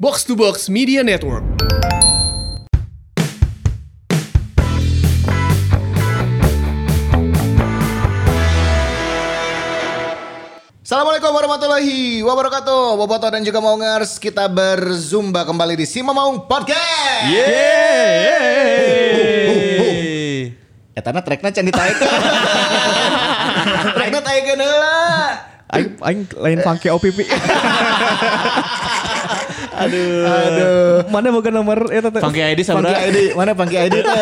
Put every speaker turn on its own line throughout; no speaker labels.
Box to Box Media Network.
Assalamualaikum warahmatullahi wabarakatuh Boboto dan juga Maungers Kita berzumba kembali di Sima Maung Podcast
Yeay.
Etana tracknya can ditaekeun Tracknya taekeun heula
Aing aing lain pangke OPP.
Aduh
Aduh. Mana boga nomor Ya, eta teh?
Pangki ID
Pangki
sabra
ID Mana Pangki ID itu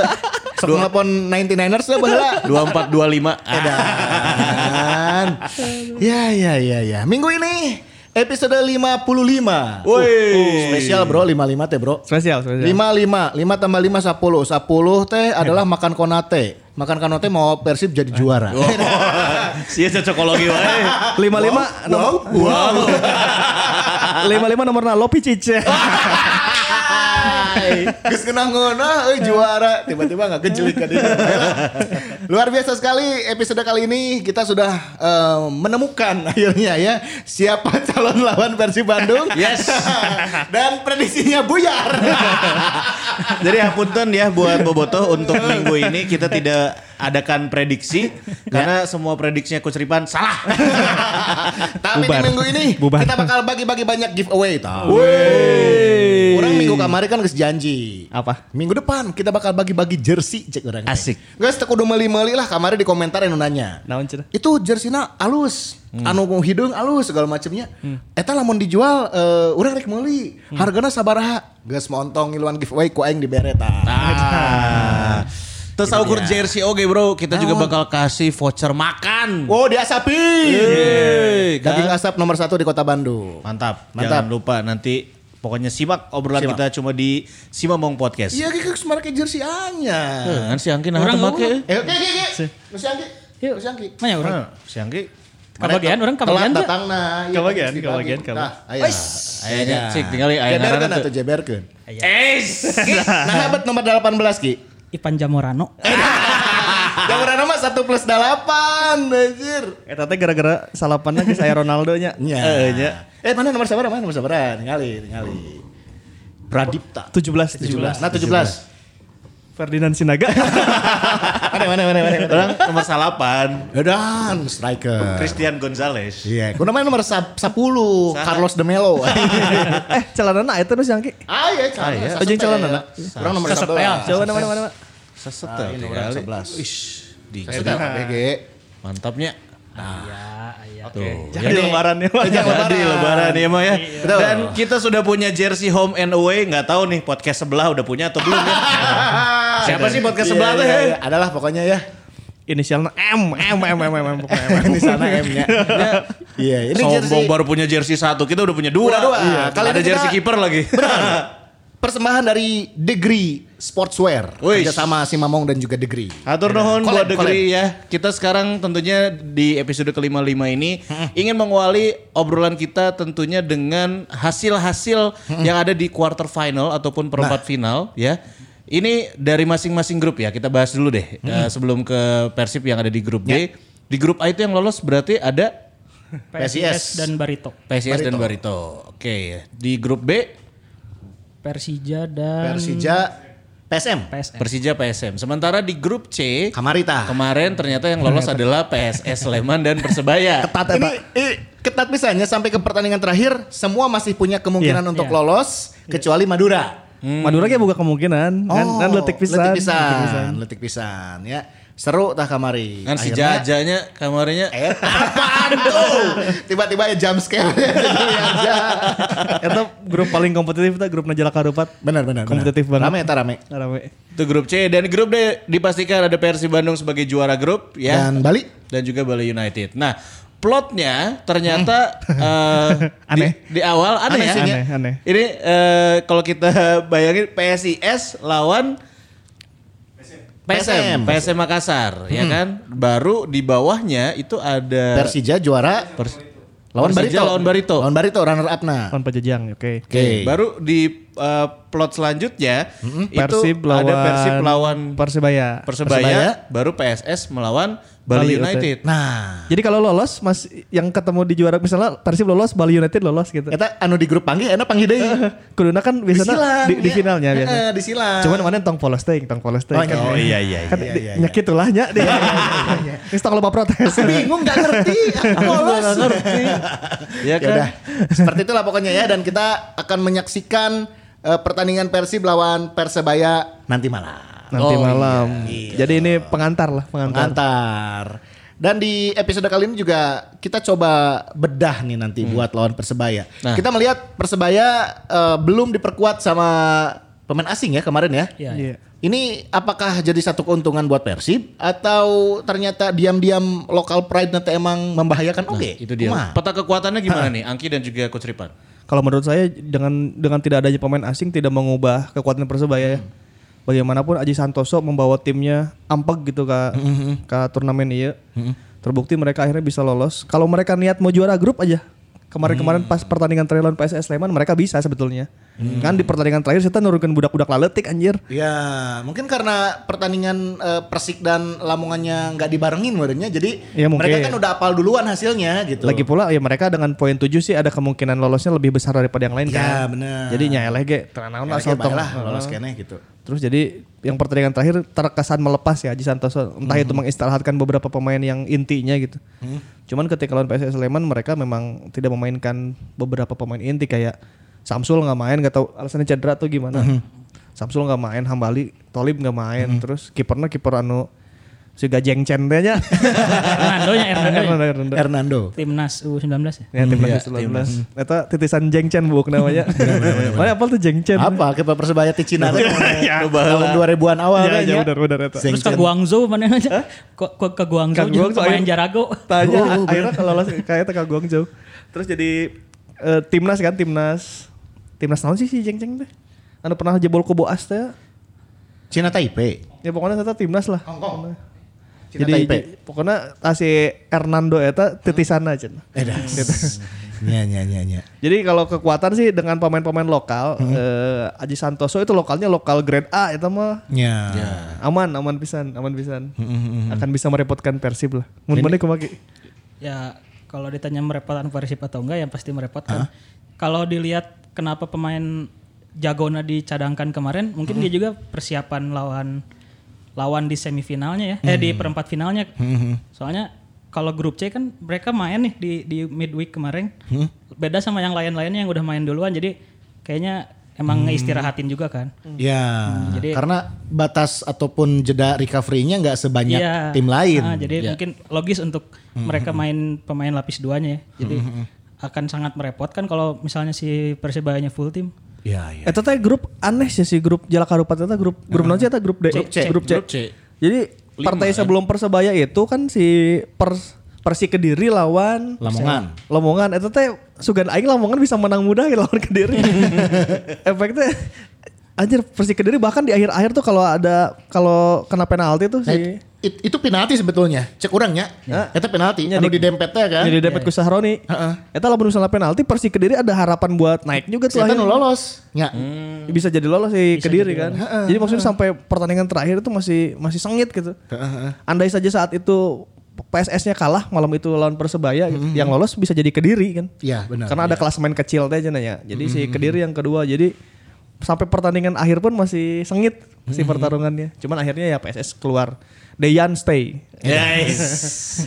Sok nelpon 99ers lah baheula
2425. Ah,
Edan Ya ya ya ya Minggu ini Episode 55
Woi.
Uh, Spesial bro 55 teh bro
Spesial, spesial.
Lima lima lima tambah lima sepuluh sepuluh teh adalah makan konate makan konate mau persib jadi juara
Sia cocokologi wae.
55 nomor
Wow.
Ah,
55 nomorna Lopi Cice.
Gus kena ngona, eh juara tiba-tiba nggak kejelik kan dia. Luar biasa sekali episode kali ini kita sudah eh, menemukan akhirnya ya siapa calon lawan Persib Bandung.
Yes.
Dan prediksinya buyar.
Nah, Jadi hapunten ya buat Boboto untuk minggu ini kita tidak adakan prediksi karena semua prediksinya Coach Ripan salah.
Tapi
Bubar.
di minggu ini
Bubar.
kita bakal bagi-bagi banyak giveaway tau. Orang minggu kemarin kan geus janji.
Apa?
Minggu depan kita bakal bagi-bagi jersey cek orang.
Asik.
Guys, tak kudu meuli-meuli lah kemarin di komentar yang nanya.
Naon Hmm. cenah?
Itu jerseyna alus, anu mau hidung alus segala macamnya.
Hmm.
Eta lamun dijual eh, urang rek meuli. Hargana sabaraha? Geus montong ngiluan giveaway ku aing dibere tah.
Ah. Terus ukur jersey oke bro, kita juga bakal kasih voucher makan.
Oh, diasapin.
Yeay, kan?
Daging asap nomor satu di Kota Bandung.
Mantap.
Mantap.
Jangan lupa nanti pokoknya simak obrolan
Simak.
kita cuma di Sima Mong Podcast.
Iya, kita harus make jersey anyar.
Kan si Angki nah teu make.
Eh, oke, oke, oke. Masih angki. Masih angki.
Mana orang?
Heuh, Eh, Si Angki.
Kabagian, orang kabagian
Telat
tuh.
datang nah. iya,
Kabagian,
pasti
kabagian,
pagi.
kabagian.
Nah, ayo.
Ayahnya cik tinggal ayah
Jeberkan
ngaranna
atau
teu.
jeberkan?
Eh,
Nah, abad nomor 18, Ki.
Ipan Jamorano.
Yang berana mah 1 plus 8, anjir.
Eta teh gara-gara salapanna geus aya Ronaldo nya.
Ya. Eh, mana nomor sabara? Mana nomor sabara? Ningali, ningali. Pradipta.
17
17. Nah, 17.
Ferdinand Sinaga.
Mana, mana, mana, mana. mana.
orang nomor salapan.
Dan striker.
Christian Gonzalez.
Iya, kudu main nomor sab- 10,
Saha?
Carlos de Melo.
eh, celanana eta nu si Angki.
Ah, iya,
iya.
calon.
Oh, jeung calon, anak.
Orang nomor
Sasepel.
11.
Coba mana mana mana.
Seset
Ah,
teh
ini
tinggal.
orang 11.
Ish, di
Sudah, BG.
mantapnya.
Ah,
Ah.
iya,
Tuh. ya,
Jadi lebarannya.
Jadi lebaran ya mah ya. Dan kita sudah punya jersey home and away, nggak tahu nih podcast sebelah udah punya atau belum ya. Siapa sih podcast
Iya,
sebelah tuh?
iya,
ya?
iya. Adalah pokoknya ya.
Inisialna M M M M M M. pokoknya M.
Di sana M-nya. Iya, ini
Sombong
jersey
baru punya jersey satu, kita udah punya dua.
Udah dua.
Iya,
Kali
Kali ada
ini kita-
jersey kiper lagi.
persembahan dari Degree Sportswear
Wih.
kerjasama si Mamong dan juga Degree.
Atur nuhun
Collab,
buat Degri ya. Kita sekarang tentunya di episode ke-55 ini ingin mengawali obrolan kita tentunya dengan hasil-hasil yang ada di quarter final ataupun perempat final ya. Ini dari masing-masing grup ya. Kita bahas dulu deh eh, sebelum ke Persib yang ada di grup D. Di grup A itu yang lolos berarti ada
PSIS.
PSIS dan Barito.
PSIS dan Barito. Oke, di grup B
Persija dan
Persija PSM
PSM.
Persija PSM. Sementara di grup C
Kamarita.
kemarin ternyata yang lolos adalah PSS Sleman dan Persebaya.
Ketat ini, eh, ketat misalnya sampai ke pertandingan terakhir semua masih punya kemungkinan untuk
Iya.
lolos kecuali Madura.
Hmm. Madura ge boga kemungkinan. Kan kan letik pisan.
Letik pisan, letik pisan ya. Seru tah kamari.
Kan si
Akhirnya-
jajanya kamarnya
Eh, apaan tuh? Tiba-tiba ya jump scare.
Eta grup paling kompetitif eta grupna Jalak Harupat.
Benar, benar.
Kompetitif
benar. Rame,
banget.
eta rame.
Rame.
itu grup C dan di grup D dipastikan ada Persib Bandung sebagai juara grup ya dan,
Dan Bali
juga Bali United. Nah, plotnya ternyata eh,
Aneh.
di, di awal aneh,
Aneh
ya.
sih,
aneh, aneh.
Ini eh, kalau kita bayangin PSIS lawan
PSM.
PSM, PSM Makassar ya
Hmm.
kan. Baru di bawahnya itu ada
Persija juara
Eh, Pers-
lawan
Persija
Barito.
lawan Barito.
Lawan Barito runner up nah.
Lawan Pajajang, oke.
Oke.
Baru di eh, plot selanjutnya itu
Hmm, Persib lawan
ada Persib lawan
Persebaya.
Persebaya, baru PSS melawan Bali,
Bali
United.
Nah,
Jadi kalau lolos mas yang ketemu di juara misalnya Persib lolos Bali United lolos gitu.
eta anu di grup panggil, enak panggil deui.
Kuduna kan
Disilang,
biasanya di, Eh, di
ya.
finalnya biasa.
Heeh, disilang.
Cuman kemarin tong polos teuing, tong polos
Oh,
teuing. kan.
iya. Oh, iya, iya,
Kan
iya,
di-
iya,
nyakit ulahnya dia. Wis tong loba protes.
bingung gak ngerti aku polos
Nggak ngerti. ya kan?
Yaudah, seperti itulah pokoknya ya dan kita akan menyaksikan eh, pertandingan Persib lawan Persebaya nanti malam
Nanti
Oh,
malam. Jadi ini pengantar lah, pengantar.
iya, pengantar dan di episode kali ini juga kita coba bedah nih nanti buat lawan Persebaya
Hmm. Nah.
kita melihat Persebaya eh, belum diperkuat sama pemain asing ya kemarin ya
Iya.
Iya.
ini apakah jadi satu keuntungan buat Persib atau ternyata diam-diam lokal pride nanti emang membahayakan oke
Nah, Itu dia.
kumaha?
Peta kekuatannya gimana nih Angki dan juga Coach Ripan?
Kalau menurut saya dengan dengan tidak adanya pemain asing tidak mengubah kekuatan Persebaya ya. Bagaimanapun Aji Santoso membawa timnya ampeg gitu ke
Mm-hmm.
ke turnamen iya. Terbukti mereka akhirnya bisa lolos. Kalau mereka niat mau juara grup aja. Kemarin-kemarin
Mm.
pas pertandingan terakhir lawan PSS Sleman mereka bisa sebetulnya. Kan di pertandingan terakhir kita nurunkan budak-budak laletik anjir.
Ya, mungkin karena pertandingan eh, Persik dan Lamongannya nggak dibarengin badannya, jadi
Ya, mungkin.
mereka kan udah apal duluan hasilnya gitu.
Lagi pula ya mereka dengan poin 7 sih ada kemungkinan lolosnya lebih besar daripada yang lain
Ya,
kan.
bener.
Jadi nyeleh ge tenang naon
Ya,
lah
lagi
sotong.
baiklah,
Heeh.
lolos kene gitu.
Terus jadi yang pertandingan terakhir terkesan melepas ya Haji Santoso. Entah itu mengistirahatkan beberapa pemain yang intinya gitu. Cuman ketika lawan PSS Sleman mereka memang tidak memainkan beberapa pemain inti kayak Samsul nggak main nggak tahu alasannya cedera atau gimana. Samsul nggak main, Hambali, Tolib nggak main. Terus kipernya kiper anu si Gajeng Cendenya.
Hernando ya Hernando. ya.
Hmm.
Hernando.
Timnas U19 ya.
Ya timnas U19. Eta titisan jengcen buk Iya, namanya. Mana apal tuh jengcen?
Apa ke Persebaya Ticina teh,
Ya,
tahun 2000-an awal
Ya,
kan,
ya
ya.
benar benar eta.
Sing
Terus ke
Chen.
Guangzhou mana aja? Ke- Ke
Ke
ke Guangzhou juga
Guangzhou,
pemain
ayo.
Jarago.
Tanya
Oh,
akhirnya kalau lolos kayak teka guang jauh. Terus jadi eh, timnas kan timnas timnas tahun sih si jengceng teh. Anu pernah jebol ke Boas teh.
Cina Taipei.
Ya pokoknya eta timnas lah.
Hongkong. Cina
Jadi
Taipei.
j- pokoknya ah, si Hernando eta titisan aja.
Eh dah.
Ya,
Ya, Nya nya nya nya.
Jadi kalau kekuatan sih dengan pemain-pemain lokal,
Hmm.
eh, Aji Santoso itu lokalnya lokal grade A itu mah
Nya.
Ya.
Ah.
aman aman pisan aman pisan
Hmm,
akan bisa merepotkan persib lah mun mana kumaki
Ya kalau ditanya merepotkan Persib atau enggak ya pasti merepotkan. Kalau dilihat kenapa pemain Jagona dicadangkan kemarin, mungkin
Hmm.
dia juga persiapan lawan lawan di semifinalnya ya, eh
Hmm.
di perempat finalnya. Soalnya kalau grup C kan mereka main nih di di midweek kemarin.
Hmm.
Beda sama yang lain-lainnya yang udah main duluan jadi kayaknya emang
Hmm.
ngeistirahatin juga kan.
Ya,
jadi-
karena batas ataupun jeda recovery-nya nggak sebanyak
Iya.
tim lain.
Ah, jadi mungkin logis untuk mereka main pemain lapis duanya ya. Jadi akan sangat merepotkan kalau misalnya si Persebayanya full tim.
Ya, ya.
eta teh Eh, grup aneh sih si grup Jala Karupat eta grup grup non eta grup D grup C, grup C.
Grup C.
jadi partai sebelum persebaya itu kan si pers Persi Kediri lawan
Lamongan.
Lamongan eta teh sugan aing Lamongan bisa menang mudah ya lawan Kediri. Efeknya anjir Persi Kediri bahkan di akhir-akhir tuh kalau ada kalau kena penalti tuh
Nah,
si
it- itu penalti sebetulnya. Cek urangnya. Ya. Itu penalti.
Ya,
Anu
di-
di dempetnya kan.
Jadi dapat ku Sahroni. Eta lamun misalnya penalti Persi Kediri ada harapan buat naik juga tuh
Setan
akhirnya.
lolos. Ya.
Hmm. Bisa jadi lolos si Kediri kan. Jadi maksudnya sampai pertandingan terakhir itu masih masih sengit gitu. Andai saja saat itu PSS-nya kalah malam itu lawan Persebaya gitu. Yang lolos bisa jadi Kediri kan.
Ya, benar.
Karena ada kelas main kecil teh aja nanya. Jadi si Kediri yang kedua. Jadi sampai pertandingan akhir pun masih sengit si pertarungannya. Cuman akhirnya ya PSS keluar. Dejan stay.
Yes.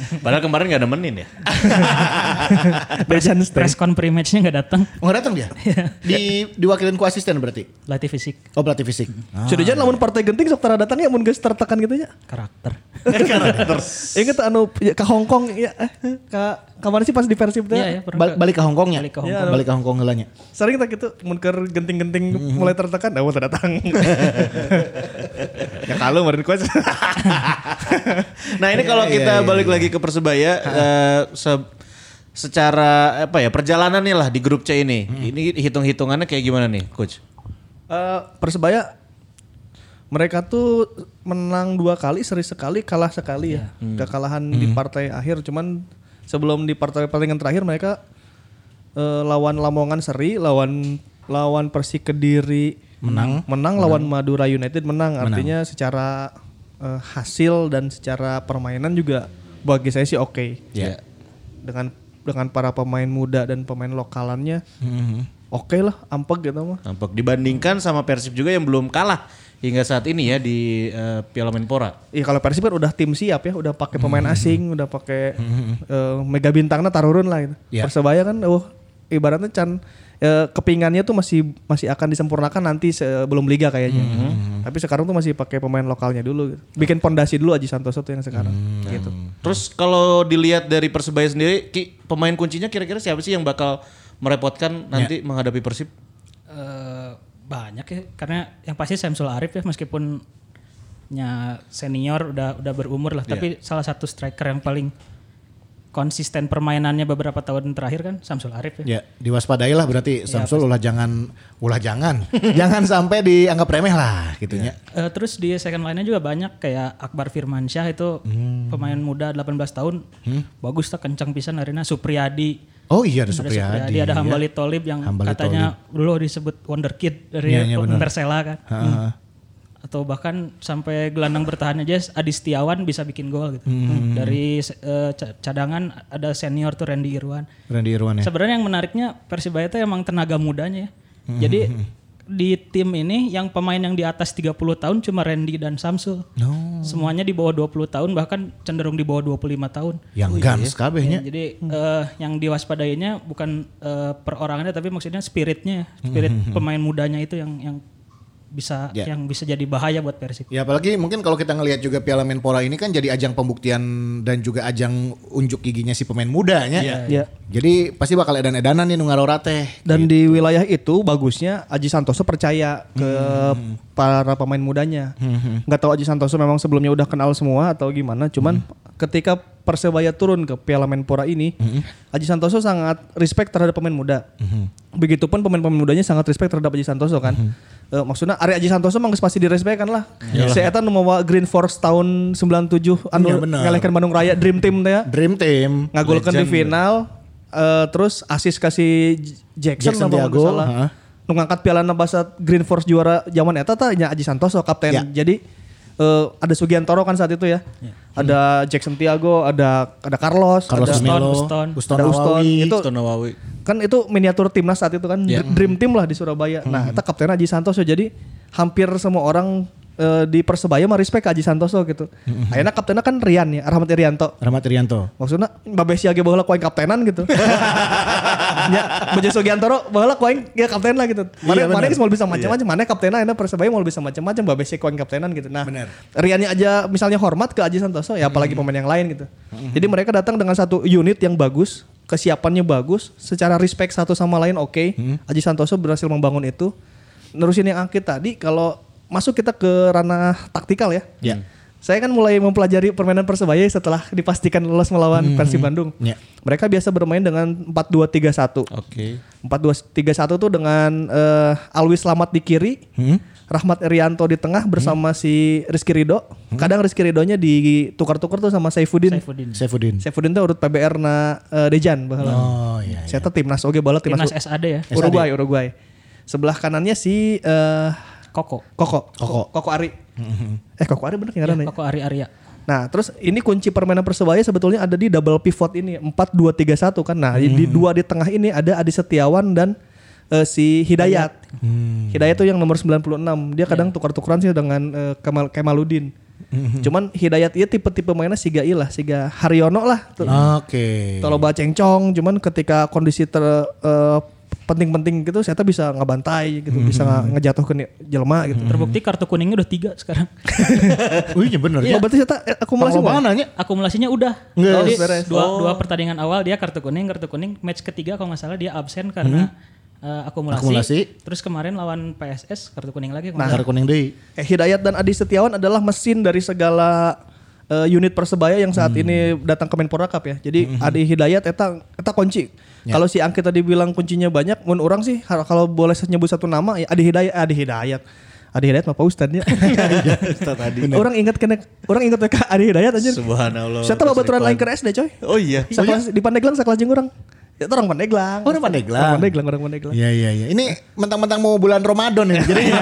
Padahal kemarin gak nemenin ya.
Dejan stay.
Press con pre-match-nya nggak datang.
Oh, nggak datang dia. di diwakilin ku asisten berarti.
Latih fisik,
Oh, pelatih fisik.
Ah.
Sudah jangan lamun partai genting sok tara datang ya mun geus tertekan gitu nya.
karakter.
Ingat anu ya, ke Hong Kong ya eh, ke kemarin sih pas di Persib teh.
Iya ya, pernah
Bal-
ke-
balik ke Hongkongnya.
Balik ke Hong
Hongkong. Balik ke Hongkong ngelanya.
Sering kita gitu mun keur genting-genting mulai tertekan dah teu datang. ya kalau kemarin kuas.
Nah ini kalau kita balik lagi ke persebaya eh, se- secara apa ya perjalanannya lah di grup C ini. Ini hitung-hitungannya kayak gimana nih, Coach?
Eh, Persebaya mereka tuh menang dua kali, seri sekali, kalah sekali ya. Kekalahan di partai akhir, cuman sebelum di partai pertandingan terakhir mereka eh, lawan Lamongan seri, lawan lawan Persik Kediri menang, menang lawan Madura United menang. Artinya secara eh, hasil dan secara permainan juga bagi saya sih oke.
Ya.
Dengan dengan para pemain muda dan pemain lokalannya oke lah, ampek gitu mah.
Nampak dibandingkan sama Persib juga yang belum kalah hingga saat ini ya di eh, Piala Menpora.
Iya kalau Persib kan udah tim siap ya, udah pakai pemain asing, udah pakai eh, mega bintangnya tarurun lah gitu.
Iya.
Persebaya kan oh ibaratnya can eh, kepingannya tuh masih masih akan disempurnakan nanti sebelum liga kayaknya. Hmm. Tapi sekarang tuh masih pakai pemain lokalnya dulu gitu. Bikin pondasi dulu Aji Santoso tuh yang sekarang gitu.
Terus kalau dilihat dari Persebaya sendiri, Ki, pemain kuncinya kira-kira siapa sih yang bakal merepotkan nanti menghadapi Persib?
Eh, banyak ya karena yang pasti Samsul Arif ya meskipun nya senior udah udah berumur lah tapi salah satu striker yang paling konsisten permainannya beberapa tahun terakhir kan Samsul Arif ya.
Ya, diwaspadailah berarti Samsul ulah jangan ulah jangan. jangan sampai dianggap remeh lah gitu ya.
Eh, terus di second line-nya juga banyak kayak Akbar Firmansyah itu
Hmm.
pemain muda 18 tahun. Bagus tuh kencang pisan Arena Supriyadi.
Oh iya ada
Ada
Supriyadi.
ada
ya.
Hambali Tolib yang
Hambali
katanya dulu disebut wonder kid dari
Iya, iya, benar.
Persela kan.
Ha, ha, ha.
Atau bahkan sampai gelandang bertahan aja Adi Setiawan bisa bikin gol gitu.
Hmm.
Dari eh, ca- cadangan ada senior tuh Randy Irwan.
Randy Irwan ya.
Sebenarnya yang menariknya Persibaya itu emang tenaga mudanya ya. Jadi di tim ini yang pemain yang di atas 30 tahun cuma Randy dan Samsul.
No.
Semuanya di bawah 20 tahun bahkan cenderung di bawah 25 tahun.
Yang gans kabehnya.
Jadi eh, yang diwaspadainya bukan eh, perorangannya tapi maksudnya spiritnya, ya. spirit pemain mudanya itu yang yang bisa
Ya.
yang bisa jadi bahaya buat Persib.
Ya apalagi mungkin kalau kita ngelihat juga Piala Menpora ini kan jadi ajang pembuktian dan juga ajang unjuk giginya si pemain mudanya.
Iya.
Jadi pasti bakal edan-edanan nih Nungarora teh.
Dan di wilayah itu bagusnya Aji Santoso percaya ke para pemain mudanya. Nggak tahu Aji Santoso memang sebelumnya udah kenal semua atau gimana. Cuman ketika Persebaya turun ke Piala Menpora ini, Aji Santoso sangat respect terhadap pemain muda. Begitupun pemain-pemain mudanya sangat respect terhadap Aji Santoso kan. Eh, maksudnya Ari Aji Santoso mah nggak pasti direspekkan lah. Saya eta nu mawa Green Force tahun 97 anu
Iya, bener.
ngalahkan Bandung Raya Dream Team teh ya
Dream Team.
ngagolkan di final eh, terus asis kasih J- Jackson,
Jackson
apa nggak
Diago,
salah.
heeh.
Nu ngangkat piala Nabasa Green Force juara zaman eta tah nya Aji Santoso kapten.
Ya.
Jadi eh, ada Sugiantoro kan saat itu ya. Ada Jackson Tiago, ada ada Carlos,
Hmm. Carlos
ada,
Melo,
Uston,
Uston
ada Uston.
Nawawi.
Itu
Tono Wawi.
kan itu miniatur timnas saat itu kan dream team lah di Surabaya.
Hmm.
Nah, itu kapten Aji Santoso jadi hampir semua orang eh, di Persebaya mah respect ke Aji Santoso gitu.
Hmm.
Akhirnya kaptennya kan Rian ya, Rahmat Irianto.
Rahmat Irianto.
Maksudnya Babe Siage baheula kuaing kaptenan gitu. ya, Bejo Sugiantoro baheula kuaing ya kapten lah gitu. Mana
Iya, bener.
mana geus mau bisa macam-macam, mana kaptena enak Persebaya mau bisa macam-macam, Babe Siage kuaing kaptenan gitu. Nah,
Bener.
Riannya aja misalnya hormat ke Aji Santoso ya
Mm-hmm.
apalagi pemain yang lain gitu. Jadi mereka datang dengan satu unit yang bagus, kesiapannya bagus, secara respect satu sama lain oke.
Mm-hmm.
Aji Santoso berhasil membangun itu. Nerusin yang angkit tadi kalau masuk kita ke ranah taktikal ya.
Ya.
Saya kan mulai mempelajari permainan Persebaya setelah dipastikan lolos melawan Persib Bandung.
Ya.
Mereka biasa bermain dengan 4-2-3-1.
Oke.
4-2-3-1 tuh dengan eh, Alwi Slamet di kiri,
Hmm?
Rahmat Irianto di tengah bersama si Rizky Ridho. Kadang Rizky Ridhonya ditukar-tukar tuh sama Saifuddin.
Saifuddin.
Hmm? Saifuddin.
Saifuddin tuh urut PBR na eh, Dejan baheula.
Oh iya.
Saya tuh timnas oge bala timnas,
Timnas SAD ya,
Uruguay, Uruguay. Sebelah kanannya si eh,
Koko.
Koko.
Koko. Hmm,
Koko Ari. Eh Koko Ari bener ngaran ya?
Koko Ari Arya.
Nah, terus ini kunci permainan Persebaya sebetulnya ada di double pivot ini 4 2 3 1 kan. Nah, di- di dua di tengah ini ada Adi Setiawan dan eh, si Hidayat.
Hmm.
Hidayat tuh yang nomor 96.
Iya.
Dia kadang tukar-tukaran sih dengan eh, Kemal Kemaludin.
Hmm.
Cuman Hidayat iya tipe-tipe mainnya siga ilah, siga Haryono lah. Tuh.
Oke.
Toloba cengcong, cuman ketika kondisi ter eh, penting-penting gitu saya tuh bisa ngebantai gitu,
Hmm.
bisa nge- ngejatuhkan jelema gitu.
Terbukti kartu kuningnya udah tiga sekarang.
Wih iya bener.
Oh, berarti saya tuh, eh, akumulasi nggak?
mana nanya?
akumulasinya udah.
Nggak,
Jadi
beres.
dua dua pertandingan awal dia kartu kuning, kartu kuning. Match ketiga kalau nggak salah dia absen karena eh, akumulasi.
Akumulasi.
Terus kemarin lawan PSS kartu kuning lagi.
Nah, kuning deui.
Eh, Hidayat dan Adi Setiawan adalah mesin dari segala eh, unit Persebaya yang saat
Hmm.
ini datang ke Menpora Cup ya. Jadi Adi Hidayat eta eta kunci.
Ya.
Kalau si Angki tadi bilang kuncinya banyak, mun orang sih har- kalau boleh saya nyebut satu nama ya Adi Hidayat, Adi Hidayat. Adi Hidayat mah Pak Ustad ya. orang ingat kena orang ingat ke Adi Hidayat aja.
Subhanallah.
Saya tahu baturan lain ke SD coy.
Oh iya.
Sakelas- di Pandeglang sakelas jeung urang. Ya orang Pandeglang.
Oh, orang Pandeglang.
Orang Pandeglang, orang Pandeglang.
Iya iya iya. Ini mentang-mentang mau bulan Ramadan ya. Jadi
Iya.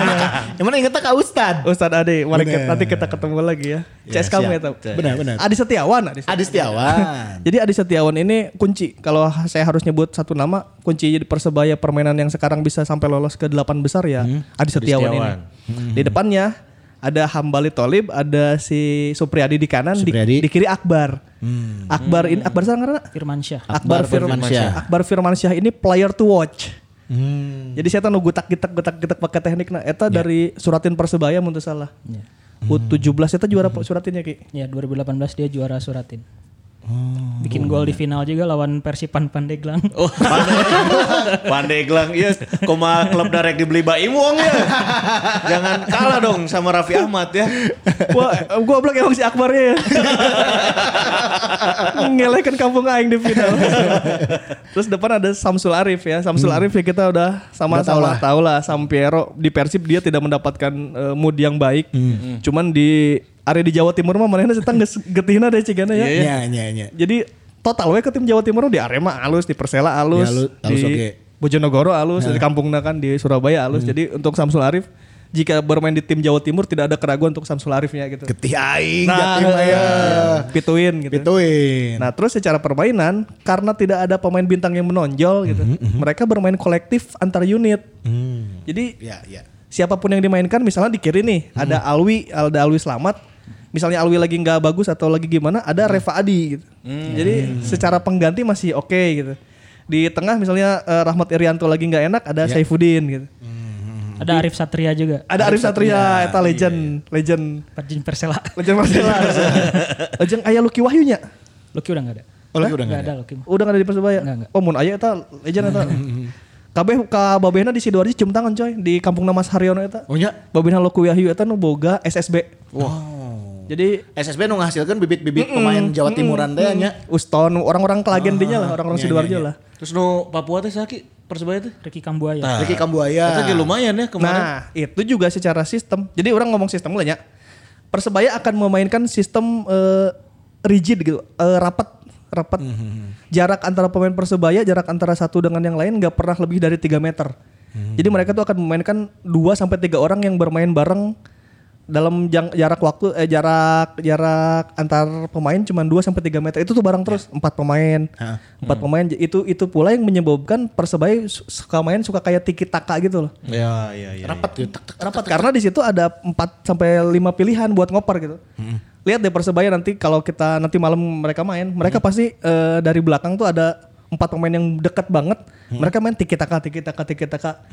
yang mana ingetnya Kak Ustad.
Ustadz Ade, mari kita-
Bener.
nanti kita ketemu lagi ya.
Ya,
CS kamu
siap.
ya tahu.
Benar, benar.
Adi Setiawan, Adi.
Adi Setiawan.
Jadi Adi Setiawan ini kunci. Kalau saya harus nyebut satu nama, kunci jadi persebaya permainan yang sekarang bisa sampai lolos ke delapan besar ya. Adi Setiawan,
Setiawan.
ini. Di depannya ada Hambali Tolib, ada si Supriyadi di kanan, di-
Supriyadi.
Di, kiri Akbar. Akbar ini Akbar sekarang karena
Firmansyah.
Nah. Akbar,
Firmansyah.
Firmansyah. Akbar Firmansyah ini player to watch. Jadi saya tahu gutak gitak gutak gitak pakai teknik nah eta dari suratin persebaya mun teu salah.
Iya.
Hmm.
U17 eta ya, juara suratinnya ki.
Ya 2018 dia juara Suratin. Bikin gol di final juga lawan Persipan Pandeglang.
Oh, Pandeglang. Pandeglang, iya. Koma klub darek dibeli Baim Wong ya. Jangan kalah dong sama Raffi Ahmad ya.
Wah, eh, goblok emang si Akbarnya ya. Ngelekan kampung aing di final. Terus depan ada Samsul Arif ya. Samsul Arif ya kita udah sama
Hmm. Udah tahu
tahu lah, tahu lah Sampiero di Persib dia tidak mendapatkan eh, mood yang baik.
Hmm.
Cuman di area di Jawa Timur mah manehna setan getihna deh cigana ya.
Iya iya iya.
Jadi total we ke tim Jawa Timur di Arema alus, di Persela alus,
Ya, alu- alus
di
oke. Nah. Hmm.
Bojonegoro alus, di kampungnya kan di Surabaya alus. Jadi untuk Samsul Arif jika bermain di tim Jawa Timur tidak ada keraguan untuk Samsul Arifnya gitu.
Getih aing
Nah,
jatim aya.
pituin gitu.
Pituin.
Nah, terus secara permainan karena tidak ada pemain bintang yang menonjol gitu.
Hmm,
Mereka bermain kolektif antar unit. Jadi
Iya iya.
siapapun yang dimainkan misalnya di kiri nih ada Alwi ada Alwi Selamat misalnya Alwi lagi nggak bagus atau lagi gimana ada Reva Adi gitu jadi secara pengganti masih oke gitu di tengah misalnya eh, Rahmat Irianto lagi nggak enak ada Saifuddin gitu
Ada Arif Satria juga.
ada Arif Satria eta legend legend
Perjin Persela.
legend Persela legend Ayah Lucky Wahyunya
Lucky udah gak ada.
Oh, lagi udah
Gak
enggak
ada Lucky. mah.
udah nggak ada di Persebaya
Nggak, nggak.
oh mun Ayah eta legend eta kabeh ka babehna di Sidoarjo cium tangan coy di kampung Mas Haryono eta
Oh nya.
babehna Lucky Wahyu eta nu boga SSB jadi
SSB nu ngasilkan bibit-bibit pemain Jawa Timuran teh nya.
Uston, orang-orang Kelagen dinya lah, orang-orang
iya,
Sidoarjo
iya,
lah.
Terus no Papua teh Saki Persebaya teh.
Ricky Kambuaya.
Nah.
Ricky Kambuaya.
Itu lumayan ya kemarin.
Nah, itu juga secara sistem. Jadi orang ngomong sistem lah ya. Persebaya akan memainkan sistem eh, rigid gitu, eh, rapat, rapat. Jarak antara pemain Persebaya, jarak antara satu dengan yang lain nggak pernah lebih dari 3 meter. Jadi mereka tuh akan memainkan 2 sampai 3 orang yang bermain bareng dalam jang- jarak waktu eh, jarak jarak antar pemain cuman 2 sampai 3 meter. Itu tuh bareng terus empat pemain.
Ha.
Empat pemain itu itu pula yang menyebabkan Persebaya su- suka main suka kayak tiki taka gitu loh
Iya,
Ya, ya, ya.
Rapat gitu. tek, tek, tek.
rapat karena di situ ada 4 sampai 5 pilihan buat ngoper gitu. Lihat deh persebaya nanti kalau kita nanti malam mereka main, mereka pasti eh, dari belakang tuh ada empat pemain yang dekat banget. Mereka main tiki taka tiki taka tiki taka.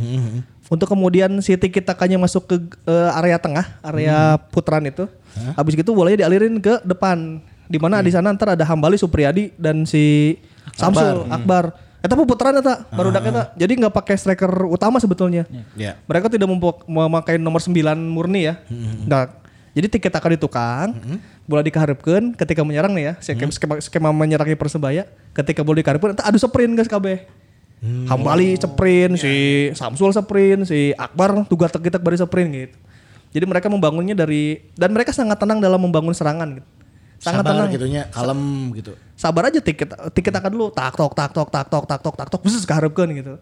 Untuk kemudian si tiki takanya masuk ke eh, area tengah, area putaran itu. Habis gitu bolanya dialirin ke depan. Di mana di sana ntar ada Hambali, Supriyadi dan si Samsul, Akbar. Eh, Eta pun putaran eta, baru Jadi nggak pakai striker utama sebetulnya.
Ya.
Mereka tidak mempo- memakai nomor 9 murni ya. Nah, jadi tiket akan ditukang, bola dikaharapkan ketika menyerang nih ya, skema, skema, skema menyerangnya Persebaya, ketika bola dikarepkeun entah adu sprint guys kabeh. Hambali sprint, si Samsul sprint, si Akbar tugas tegak bari sprint gitu. Jadi mereka membangunnya dari dan mereka sangat tenang dalam membangun serangan gitu. Sangat
Sabar
tenang.
gitu nya, kalem gitu.
Sabar aja tiket tiket akan dulu tak tok tak tok tak tok tak tok tak tok khusus keharapkan gitu.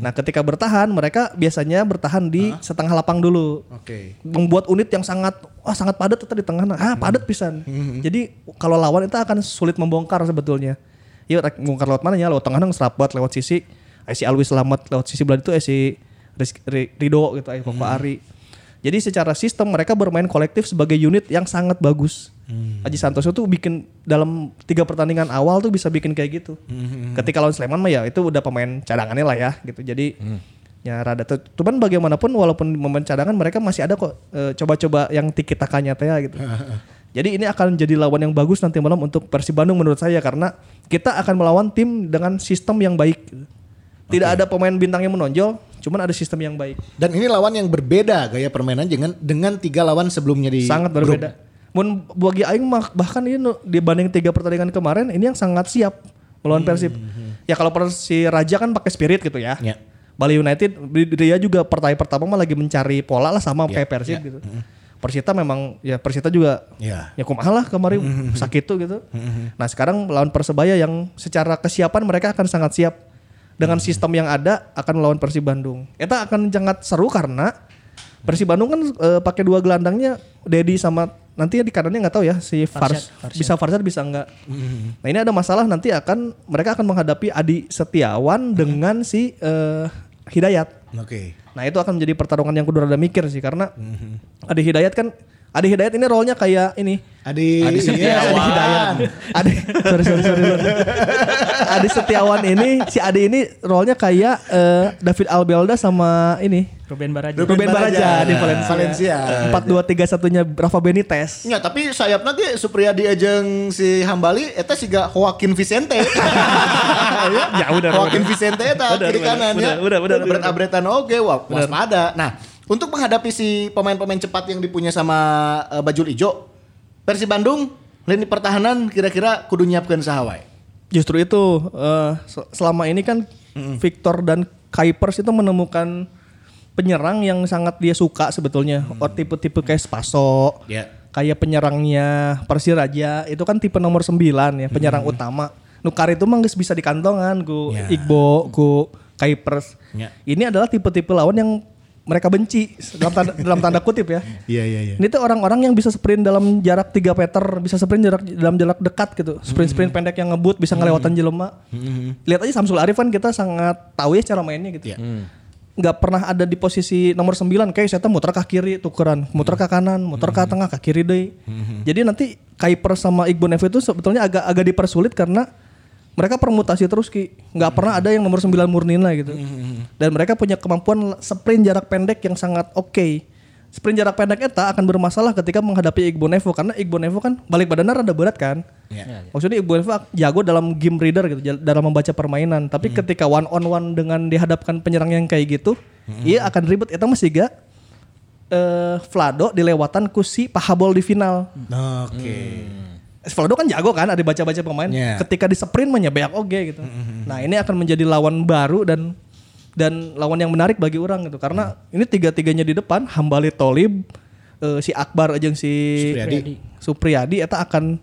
Nah, ketika bertahan mereka biasanya bertahan di setengah lapang dulu
Oke.
membuat unit yang sangat wah sangat padat itu di tengah nah ah padat pisan jadi kalau lawan itu akan sulit membongkar sebetulnya ya rek- membongkar lewat mana ya lewat tengah nang serapat lewat sisi eh, si Alwi selamat lewat sisi belah itu eh, si Ris- Ri- Rido gitu eh, Papa Ari jadi secara sistem mereka bermain kolektif sebagai unit yang sangat bagus Aji Santoso tuh bikin dalam tiga pertandingan awal tuh bisa bikin kayak gitu ketika lawan Sleman mah ya itu udah pemain cadangannya lah ya gitu jadi ya rada tuh cuman bagaimanapun walaupun momen cadangan mereka masih ada kok eh, coba-coba yang tiki takanya teh gitu jadi ini akan jadi lawan yang bagus nanti malam untuk Persib Bandung menurut saya karena kita akan melawan tim dengan sistem yang baik tidak ada pemain bintang yang menonjol cuman ada sistem yang baik
Dan ini lawan yang berbeda gaya permainan dengan dengan tiga lawan sebelumnya di
sangat
grup.
berbeda Mun bagi Aing mah bahkan ini nu- dibanding tiga pertandingan kemarin ini yang sangat siap melawan Persib ya kalau Persi Raja kan pakai spirit gitu ya
Ya.
Bali United dia juga pertandingan pertama mah lagi mencari pola lah sama kayak Persib gitu. Persita memang ya Persita juga
Ya.
ya kumaha lah kemarin sakit tuh gitu. Nah sekarang lawan persebaya yang secara kesiapan mereka akan sangat siap dengan sistem yang ada akan melawan Persib Bandung. Eta akan sangat seru karena Persib Bandung kan eh, pakai dua gelandangnya Dedi sama nanti di kanannya nggak tahu ya si Fars bisa Farshad bisa nggak. Nah ini ada masalah nanti akan mereka akan menghadapi Adi Setiawan dengan si eh, Hidayat.
Oke.
Nah itu akan menjadi pertarungan yang kudu rada mikir sih karena
Mhm.
Ade Hidayat kan Ade Hidayat ini role-nya kayak ini.
Adi
Adi Setiawan.
Iya, Adi Hidayat.
Ade sorry sorry sorry. sorry. Ade Setiawan ini si Ade ini role-nya kayak eh, David Albelda sama ini
Ruben Baraja.
Ruben
Ruben
Baraja.
Baraja di Valencia.
Valencia.
Empat dua tiga satunya Rafa Benitez.
Ya, tapi sayap nanti Supriyadi ajeng si Hambali eta siga Joaquin Vicente.
Iya,
ya udah. Joaquin Vicente eta kiri kanan ya.
udah, udah, udah.
Abret-abretan oke wah waspada. Nah, untuk menghadapi si pemain-pemain cepat yang dipunya sama eh, Bajul Ijo, Persi Bandung lini pertahanan kira-kira kudu nyiapkeun saha wae.
Justru itu eh, se- selama ini kan Victor dan Kuipers itu menemukan penyerang yang sangat dia suka sebetulnya. Oh, tipe-tipe kayak Spaso.
Ya.
kayak penyerangnya Persiraja itu kan tipe nomor 9 ya penyerang utama Nukar itu mah nggak bisa di kantongan ku
Ya.
Igbo ku Kuipers
Ya.
ini adalah tipe-tipe lawan yang mereka benci dalam tanda, dalam tanda kutip ya
Iya iya iya.
ini tuh orang-orang yang bisa sprint dalam jarak 3 meter, bisa sprint jarak dalam jarak dekat gitu.
Hmm.
Sprint-sprint pendek yang ngebut bisa ngelewatan jelema. Lihat aja Samsul Arif kan kita sangat tahu ya cara mainnya gitu.
Iya.
Nggak pernah ada di posisi nomor 9 kayak saya muter ke kiri tukeran, muter
Hmm.
ke kanan, muter ke tengah, ke kiri deh. Jadi nanti Kuiper sama Iqbal Nevi itu sebetulnya agak agak dipersulit karena mereka permutasi terus ki nggak pernah
Hmm.
ada yang nomor 9 murnina gitu dan mereka punya kemampuan sprint jarak pendek yang sangat oke sprint jarak pendek eta akan bermasalah ketika menghadapi Igbo Nevo karena Igbo Nevo kan balik badannya rada berat kan maksudnya Igbo Nevo ak- jago dalam game reader gitu jal- dalam membaca permainan tapi ketika one on one dengan dihadapkan penyerang yang kayak gitu ia akan ribet eta masih gak eh Vlado dilewatan ku si Pahabol di final
Oke.
Valdo kan jago kan, ada baca-baca pemain.
Iya. Mm-hmm,
Ketika di sprint menyebeak oke gitu. Nah ini akan menjadi lawan baru dan dan lawan yang menarik bagi orang gitu. Karena
Mm.
ini tiga-tiganya di depan, Hambali Tolib, eh, si Akbar aja yang si
Supriyadi.
Supriyadi, eta akan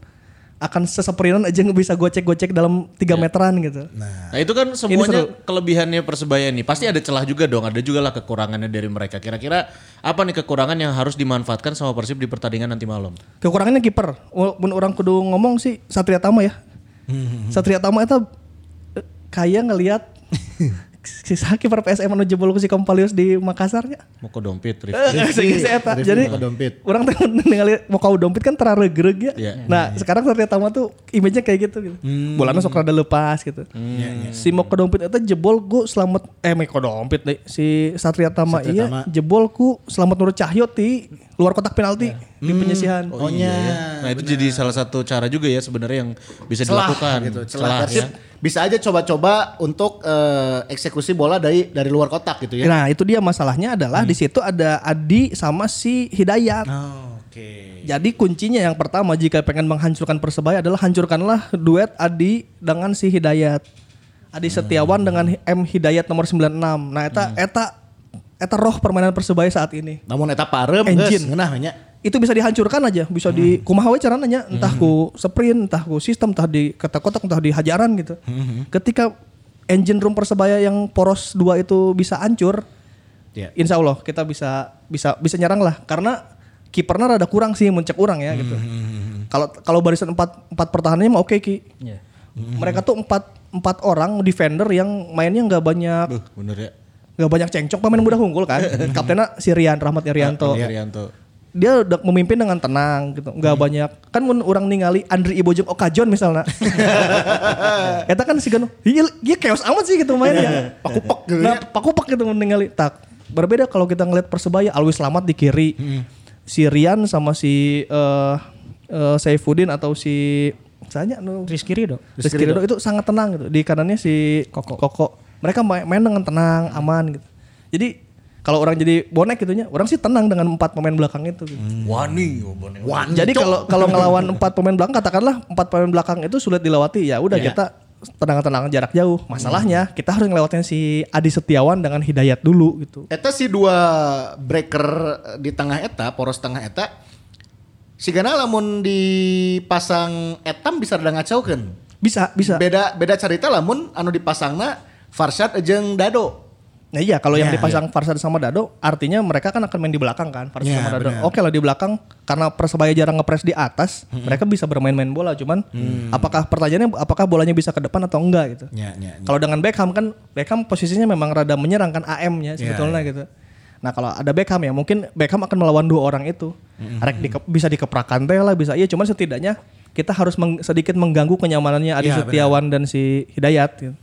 akan seseprintan aja yang bisa gocek-gocek dalam
Iya.
3 meteran gitu.
Nah itu kan semuanya kelebihannya persebaya nih. Pasti ada celah juga dong. Ada juga lah kekurangannya dari mereka. Kira-kira apa nih kekurangan yang harus dimanfaatkan sama Persib di pertandingan nanti malam?
Kekurangannya kiper. Walaupun orang kudu ngomong sih Satria Tama ya.
Mm-hmm.
Satria Tama itu eh, kayak ngelihat sisa kiper PSM anu jebol ku si Kompalius di Makassar nya.
Moko dompet, Rif.
Eh, Segi eta.
Rifki
Jadi
Mokau Dompit.
orang tuh ningali mau kau dompet kan terareg-reg ya.
Iya.
Nah, sekarang Satria Tama tuh image-nya kayak gitu gitu. Bolanya sok rada lepas gitu.
Iya,
Si mau dompet eta jebol ku selamat eh Moko dompit deh. Si Satria Tama
Satria
iya
Tama.
jebol ku selamat Nur Cahyo ti luar kotak penalti di penyisihan.
Oh nya.
iya.
Nah itu jadi salah satu cara juga ya sebenarnya yang bisa
celah
dilakukan.
gitu celah, Persib
ya.
bisa aja coba-coba untuk eh, eksekusi bola dari dari luar kotak gitu ya
Nah, itu dia masalahnya adalah di situ ada Adi sama si Hidayat.
oh, oke
Jadi kuncinya yang pertama jika pengen menghancurkan Persebaya adalah hancurkanlah duet Adi dengan si Hidayat. Adi Setiawan dengan M Hidayat nomor 96. Nah, eta eta eta roh permainan Persebaya saat ini.
namun eta parem
Engine.
geus, ngeunah nya
Itu bisa dihancurkan aja, bisa di kumaha we carana nya, entah ku sprint, entah ku sistem, entah di kotak-kotak, entah di hajaran gitu. Ketika engine room Persebaya yang poros dua itu bisa hancur,
ya
Insya Allah kita bisa bisa bisa nyerang lah karena kipernya rada kurang sih mencek orang ya gitu. Kalau kalau barisan empat empat pertahanannya mah oke ki.
Iya.
Mereka tuh empat empat orang defender yang mainnya nggak banyak
Duh, bener ya.
nggak banyak cengcok pemain muda unggul kan. Kaptennya si Rian Rahmat
Oh.
Irianto.
Irianto.
Dia udah memimpin dengan tenang gitu, nggak banyak. Kan mun orang ningali Andri Ibo jeung Okajon misalnya. Eta kan si Gano, iya iya chaos amat sih gitu mainnya.
pakupek gitu
Nah,
ya
pakupak gitu ningali tak. Berbeda kalau kita ngeliat Persebaya Alwi Slamet di kiri. Si Rian sama si eh eh, Saifuddin atau si Sanya nu
Rizky Rido.
Rizky Ridho itu sangat tenang gitu. Di kanannya si Koko. Mereka main, main dengan tenang, aman gitu. Jadi kalau orang jadi bonek gitunya, orang sih tenang dengan empat pemain belakang itu. Gitu.
Wani, oh, bener.
Wan,
Jadi
cok.
kalau kalau ngelawan empat pemain belakang, katakanlah empat pemain belakang itu sulit dilewati ya. Udah
Iya.
kita tendangan-tendangan jarak jauh. Masalahnya kita harus ngelewatin si Adi Setiawan dengan Hidayat dulu gitu.
Eta si dua breaker di tengah eta, poros tengah eta. Sigana lamun dipasang etam bisa rada ngacaukeun.
Bisa, bisa.
Beda beda cerita lamun anu dipasangna Farshad jeung Dado.
Nah iya kalau yang
Ya,
dipasang Farsad sama Dado artinya mereka kan akan main di belakang kan Farsad
Ya,
sama Dado.
benar.
Oke lah di belakang karena Persebaya jarang ngepres di atas, mereka bisa bermain-main bola cuman
Hmm.
apakah pertanyaannya apakah bolanya bisa ke depan atau enggak gitu.
Ya, ya,
Kalau dengan Beckham kan Beckham posisinya memang rada menyerang kan AM-nya
Ya,
sebetulnya gitu. Nah kalau ada Beckham ya mungkin Beckham akan melawan dua orang itu. Rek dike- bisa dikeprakan teh lah bisa. Iya cuman setidaknya kita harus meng- sedikit mengganggu kenyamanannya Adi
Ya,
Setiawan dan si Hidayat. Gitu.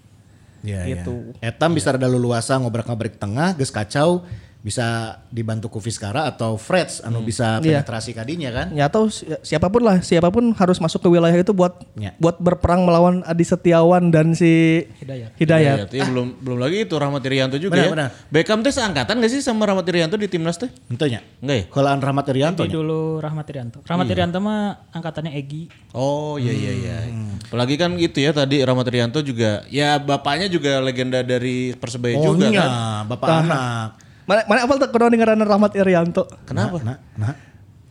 Ya,
Gitu.
ya. Etam bisa rada leluasa ngobrak-ngabrik tengah, geus kacau bisa dibantu ku Fiskara atau Freds anu bisa
Iya.
penetrasi kadinya kan.
Ya atau si- siapapun lah, siapapun harus masuk ke wilayah itu buat
Ya.
buat berperang melawan Adi Setiawan dan si
Hidayat.
Hidayat.
Iya, iya, belum belum lagi itu Rahmat Irianto juga
Benar,
ya.
benar.
Beckham teh seangkatan gak sih sama Rahmat Irianto di timnas teh?
Tentunya.
Enggak ya?
Helaan Rahmat Irianto.
Itu dulu Rahmat Irianto. Rahmat Irianto mah angkatannya Egi.
Oh iya iya iya.
Hmm.
Apalagi kan gitu ya tadi Rahmat Irianto juga ya bapaknya juga legenda dari Persebaya
Oh
juga
iya,
kan.
bapak anak.
Mana mana apal tak kudu dengaran Rahmat Irianto?
Kenapa?
Nah, nah.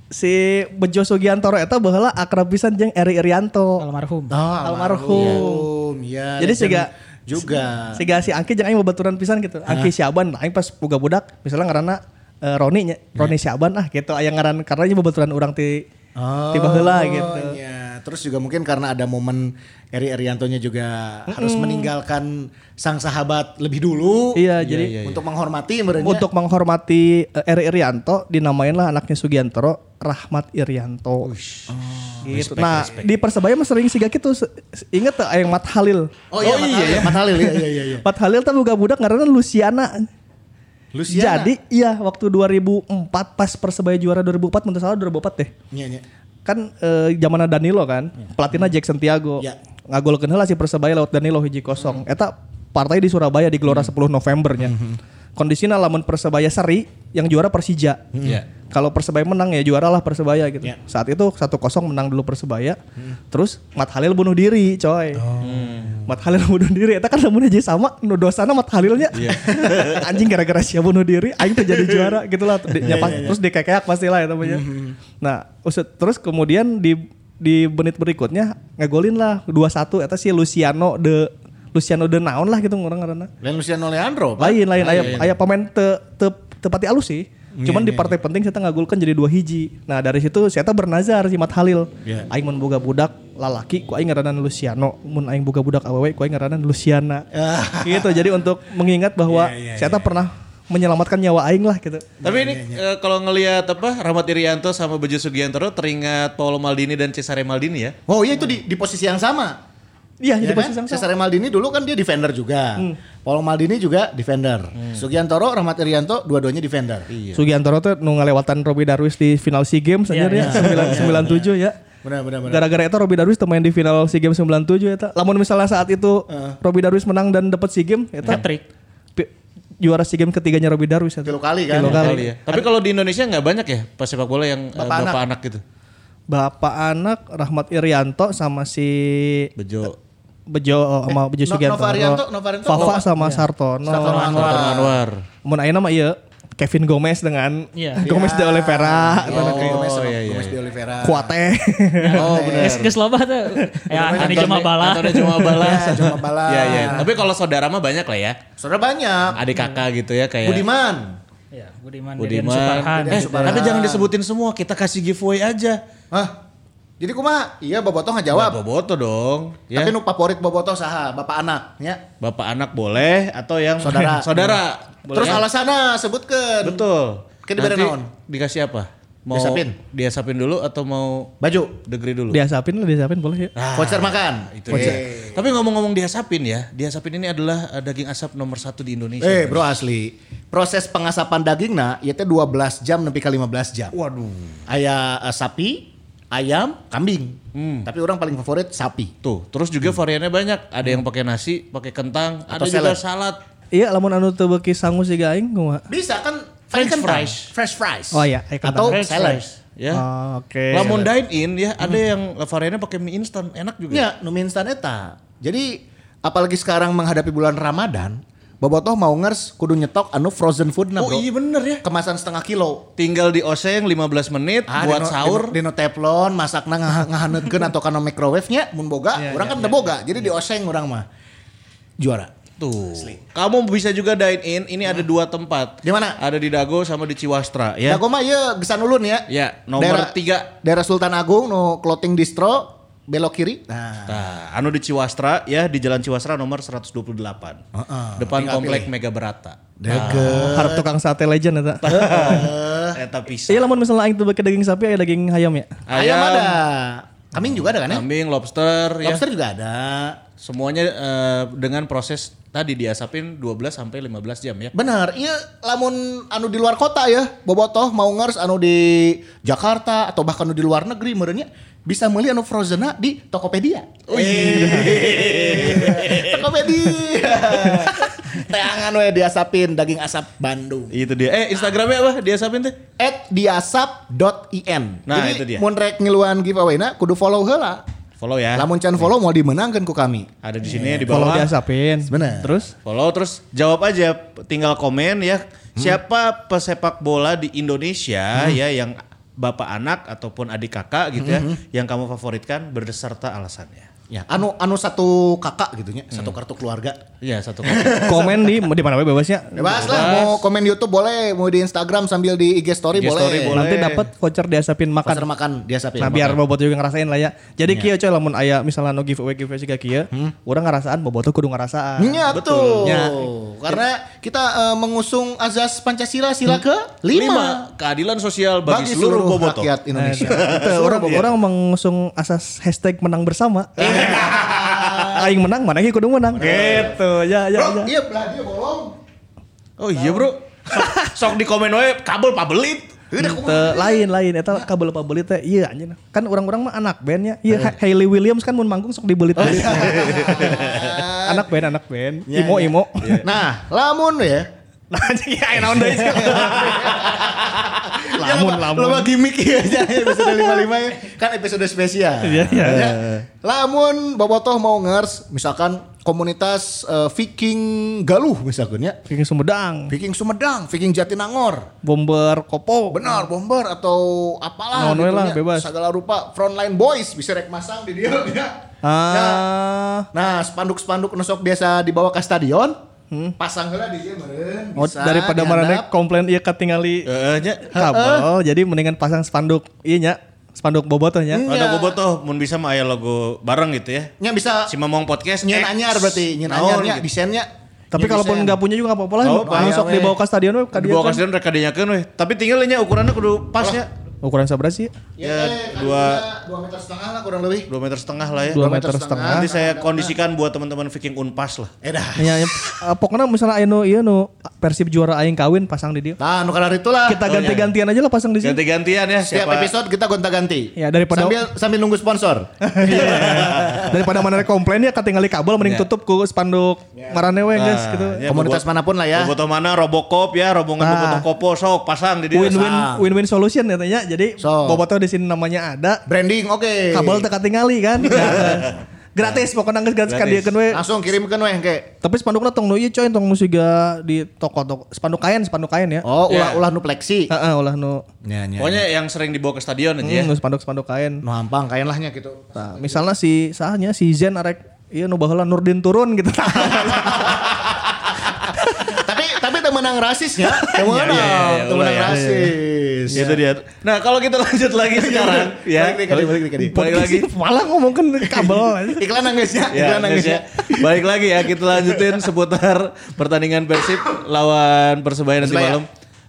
Si Bejo Sugiantoro eta baheula akrab pisan jeung Eri Irianto.
Almarhum.
Oh,
Almarhum.
Ya,
Jadi
legend
siga-
juga.
Siga si Angki jeung aing babaturan pisan gitu.
Ah.
Angki Syaban aing pas boga budak misalnya ngaranna eh, Roni nya,
Ya.
Roni Syaban ah gitu aya ngaran karena nya babaturan urang ti ti baheula gitu.
Ya. Oh, Terus juga mungkin karena ada momen Eri Eriantonya juga harus meninggalkan sang sahabat lebih dulu.
Iya, jadi
untuk menghormati merenya.
Untuk menghormati eh, Eri Irianto dinamainlah anaknya Sugiantoro Rahmat
Oh,
Irianto. gitu. nah, di Persebaya mah sering siga gitu. Se- se- Ingat tuh yang Mat Halil.
Oh iya, Mat Halil, Mat Halil, iya iya iya. iya.
Mat Halil tuh buka budak karena Luciana.
Luciana.
Jadi iya waktu 2004 pas Persebaya juara 2004 menurut salah 2004 deh.
Iya, iya.
Kan eh, zamannya Danilo kan, pelatihnya Jackson Tiago.
Ya.
Ngagolkeun heula si Persebaya lewat Danilo hiji kosong. Eta partai di Surabaya di Gelora 10 Novembernya. Kondisinya lamun Persebaya seri yang juara Persija.
Iya.
Kalau Persebaya menang ya juara lah Persebaya gitu.
Ya.
Saat itu 1-0 menang dulu Persebaya. Terus Mat Halil bunuh diri, coy. Mm. Mat Halil bunuh diri. Eta kan lamun aja sama nu dosana Mat Halilnya. Anjing gara-gara sia bunuh diri aing teh jadi juara gitu lah. Di- ya pas- Terus dikekeak pastilah ya namanya. Nah, usut terus kemudian di di menit berikutnya ngegolin lah 2-1 eta si Luciano de Luciano de naon lah gitu orang ngaranna
Lain Luciano Leandro. Oh, Pak. Ah, iya,
lain lain ayah ayah pemain te te tepati alus sih cuman di
iya.
partai penting saya ngagulkan jadi dua hiji nah dari situ saya bernazar si Mat Halil
Iya.
aing mun boga budak lalaki ku aing ngaranan Luciano mun aing boga budak awewe ku aing ngaranan Luciana gitu jadi untuk mengingat bahwa
Iya,
saya pernah menyelamatkan nyawa aing lah gitu
Tapi ini
iya.
eh, kalau ngelihat apa Rahmat Irianto sama Bejo Sugiantoro teringat Paolo Maldini dan Cesare Maldini ya.
Oh iya itu di, di posisi yang sama.
iya
Ya
jadi posisi
kan?
yang sama. Hmm.
Cesare Maldini dulu kan dia defender juga. Paul Maldini juga defender. Sugiantoro, Rahmat Irianto dua-duanya defender.
Sugiantoro tuh nu ngalewatan Robby Darwis di final SEA Games aja ya, 997 ya.
Benar benar benar.
Gara-gara itu Robby Darwis main di final SEA Games 97 eta. Lamun misalnya saat itu Robby Darwis menang dan dapat SEA Games eta
Patrick.
pi- juara SEA Games ketiganya Robby Darwis eta.
Tilu kali kan.
Tilu kali.
Kali ya. Tapi kalau di Indonesia nggak banyak ya pas sepak bola yang eh,
Bapak
bapak,
anak.
anak. gitu.
Bapak anak Rahmat Irianto sama si
Bejo
Bejo eh, sama Bejo
No-
Sugiantoro.
Nova Arianto- Nova Arianto-
Fafa
Nova-
sama Sartono.
Sartono Anwar.
Anwar. Anwar.
Mun ayeuna mah ieu Kevin Gomez dengan
Iya.
Gomez de Oliveira,
Oh, Gomez sama-
Ya. iya, iya,
Gomez
iya.
de Oliveira.
Kuate.
Iya.
Oh benar.
Geus geus loba tuh. Ya Ani cuma bala.
Antoni Jomabala.
Ya, Jomabala.
Iya, iya. Tapi kalau saudara mah banyak lah ya.
Saudara banyak.
Adik kakak gitu ya kayak
Iya. Budiman.
Ya Budiman, Budiman.
Budiman. Eh,
Suparhan.
tapi jangan disebutin semua, kita kasih giveaway aja.
Hah? Jadi kumaha? Iya Bobotoh ngajawab.
Bapak Boto dong, ya.
Tapi nu favorit Bobotoh saha? Bapak anak, ya.
Bapak anak boleh atau yang
Saudara.
Saudara. Boleh.
Terus alasannya sebutkan.
Betul.
Kita diberi
Nanti
naon?
Dikasih apa? Mau
Diasapin.
diasapin dulu atau mau
Baju,
degree dulu? Ah.
Diasapin lah, diasapin boleh ya.
Ah, voucher makan.
Nah, Itu dia. Tapi ngomong-ngomong diasapin ya, diasapin ini adalah eh, daging asap nomor satu di Indonesia.
Eh bro asli, proses pengasapan dagingna ieu teh 12 jam nepi ka 15 jam. Waduh. Aya eh, sapi, ayam, kambing.
Hmm.
Tapi orang paling favorit sapi.
Tuh, terus juga variannya banyak. Ada yang pakai nasi, pakai kentang,
Hmm. Atau
ada juga salad.
Iya, lamun anu teu beuki sangu siga aing kumaha?
Bisa kan
French
kentang.
fries.
French fries.
Oh, iya, iya, kentang.
Atau
French
salad.
fries, ya.
Ah, Oke.
Hmm.
Lamun dine in ya, ada yang variannya pakai mie instan, enak juga.
Ya, nu mie instan Iya, eta. Jadi apalagi sekarang menghadapi bulan Ramadan, Bobotoh mau ngers kudu nyetok anu frozen food na,
Oh
bro.
iya bener ya.
Kemasan setengah kilo.
Tinggal di oseng 15 menit
Ah,
buat
dino-
sahur.
dino, dino teflon masakna ngah- ngahaneutkeun atau kana microwave nya mun boga
Iya,
urang kan teu boga jadi dioseng urang mah juara
Tuh. Kamu bisa juga dine in. Ini ada dua tempat.
Hmm. Di mana?
Ada di Dago sama di Ciwastra
ya
ya.
mah ieu gesan ulun ya
Ya, nomor
Daerah-
tiga.
daerah Sultan Agung no clothing distro belok kiri nah
Nah, anu di Ciwastra ya di Jalan Ciwastra nomor 128.
Heeh.
Depan
Tinggal
komplek Mega Berata.
dege
Ah, Harap tukang sate legend eta.
Eta pisah.
Iya lamun misalnya aing tuh bake daging sapi aya daging hayam ya.
ayam ada
Ayam,
kambing juga ada kan ya
kambing, lobster, ya.
lobster juga ada
Semuanya eh, dengan proses tadi diasapin 12 sampai 15 jam ya.
Bener, iya lamun anu di luar kota ya, bobotoh mau ngers anu di Jakarta atau bahkan anu di luar negeri merenya bisa beli anu frozena di Tokopedia.
Oh, iya.
Tokopedia. Teangan we diasapin daging asap Bandung.
Itu dia. Eh, Instagramnya apa? Diasapin teh?
At diasap.in.
Nah,
Jadi,
itu dia.
Mun rek ngiluan giveaway na kudu follow heula.
Follow ya.
Lamun can follow mau dimenangkan ku kami.
Ada di sini di
Kalau
bawah.
diasapin.
Bener.
Terus
Follow terus jawab aja, tinggal komen ya. Siapa pesepak bola di Indonesia ya yang bapak anak ataupun adik kakak gitu ya yang kamu favoritkan berserta alasannya.
Ya, anu anu satu kakak gitu nya,
Hmm.
satu kartu keluarga.
Iya, satu kali.
komen di di mana we bebasnya.
Bebas lah, mau komen di YouTube boleh, mau di Instagram sambil di IG story
IG
boleh.
story boleh.
Nanti dapat voucher diasapin makan.
Pasar makan dia sapi.
Nah biar bobot juga ngerasain lah ya. Jadi kieu coy lamun aya misalnya no giveaway giveaway siga kieu, urang ngarasaan bobot kudu ngarasaan.
Nya betul. Karena kita eh, mengusung azas Pancasila sila ke lima.
Lima, keadilan sosial bagi, seluruh, boboto.
rakyat
Nah,
Indonesia. Betul,
Orang,
Bobotoh.
orang gitu. mengusung asas hashtag menang bersama. Aing menang, mana kudu menang. Gitu, ya, ya,
Bro,
ya.
iya belah dia bolong.
Oh iya, Bro. Sok, sok di komen we kabel pabelit.
Udah, aku
Teu, Gitu. lain lain eta kabel pabelit teh iya anjing kan orang-orang mah anak bandnya iya Ha- Hayley Williams kan mun manggung sok dibelit belit anak band anak band
Ya,
imo
ya.
imo
Nah, lamun ya.
nah anjing ya naon deui sih. lamun lamun
Lo bagi mic ya aja episode 55 ya. Kan episode spesial.
Iya, iya.
Ya. Lamun bobotoh mau ngers misalkan komunitas eh, Viking Galuh misalkan ya.
Viking Sumedang
Viking Sumedang, Viking Jatinangor.
bomber kopo
Benar, bomber atau apalah
Hmm. Naon we lah,
nya.
bebas.
Segala rupa frontline boys bisa rek masang di dia ya. Nah,
ah
Nah, spanduk-spanduk nusok biasa dibawa ke stadion. Pasang heula di dieu meureun.
Hmm. oh,
bisa
daripada
dihandap.
marane komplain ieu katingali
Heeh, Eh, nya.
kabel jadi mendingan pasang spanduk iya nya spanduk bobotohnya
Ada boboto, mun bisa mah aya logo bareng gitu ya.
Nya bisa
Si Mamong Podcast
nyen
X.
anyar berarti, nyen
Naon
anyarnya
gitu.
desainnya.
tapi
nyen
kalaupun
desain.
nggak punya juga nggak apa-apa lah
Nggak
oh,
apa-apa,
sok
ya,
dibawa
we.
ke stadion we ka
Dibawa
dieu
ke
kan.
stadion rek kadenyakeun we. Tapi tinggal nya ukurannya kudu pas nya.
ukuran seberapa sih
Ya,
Ya,
eh,
dua-
kalinya dua meter setengah lah kurang lebih.
2 meter setengah lah ya.
dua meter setengah
Nanti saya kondisikan buat teman-teman Viking Unpas lah.
Eh dah.
Ya, ya. Eh, pokoknya misalnya ayo nu- ieu nu Persib juara aing kawin pasang di dia.
Nah, nu kalar itulah.
Kita
Oh,
ganti-gantian
iya.
aja lah pasang di sini.
Ganti-gantian ya
Setiap
siapa.
episode kita gonta-ganti.
Ya, daripada-
sambil sambil nunggu sponsor.
Iya. Daripada mana ada komplain ya ketinggali kabel mending
Ya.
tutup ku spanduk
Iya.
marane we
Nah,
guys gitu.
ya,
Komunitas
Boboto-
manapun lah ya.
Boboto mana Robocop ya, rombongan
Nah.
Boboto Kopo sok pasang di dia.
Win-win
pasang.
win-win solution ya tanya. Jadi
So. Iya.
bobotoh di sini namanya ada,
Branding oke.
kabel teu katingali kan.
Iya.
Nah, gratis pokoknya geus gratis ka
Gratis.
dieu kan we.
Langsung kirimkan weh ke.
Tapi spanduknya tong nu ieu coy tong nu siga di toko-toko spanduk kain spanduk kain ya.
Oh,
Ya.
ulah-ulah nu pleksi.
Heeh, ulah nu
Ya, ya.
Pokoknya yang sering dibawa ke stadion aja ya.
hmm, nu spanduk-spanduk kain.
Nu hampang kain lahnya gitu.
Nah, misalnya si sahnya si Zen arek iya nu baheula Nurdin turun gitu.
tapi tapi temenang rasisnya. Temenang,
Ya, ya, ya, ya,
temenang
ulah ya.
rasis.
Itu dia. Nah, kalau kita lanjut lagi sekarang ya.
Balik deh, Kadi, balik deh, Kadi.
Balik lagi.
Malah ngomongin kabel.
Iklan nangis ya,
Ya,
iklan nangis ya.
ya. Balik lagi ya kita lanjutin seputar pertandingan Persib lawan Persebaya nanti
Persebaya.
malam.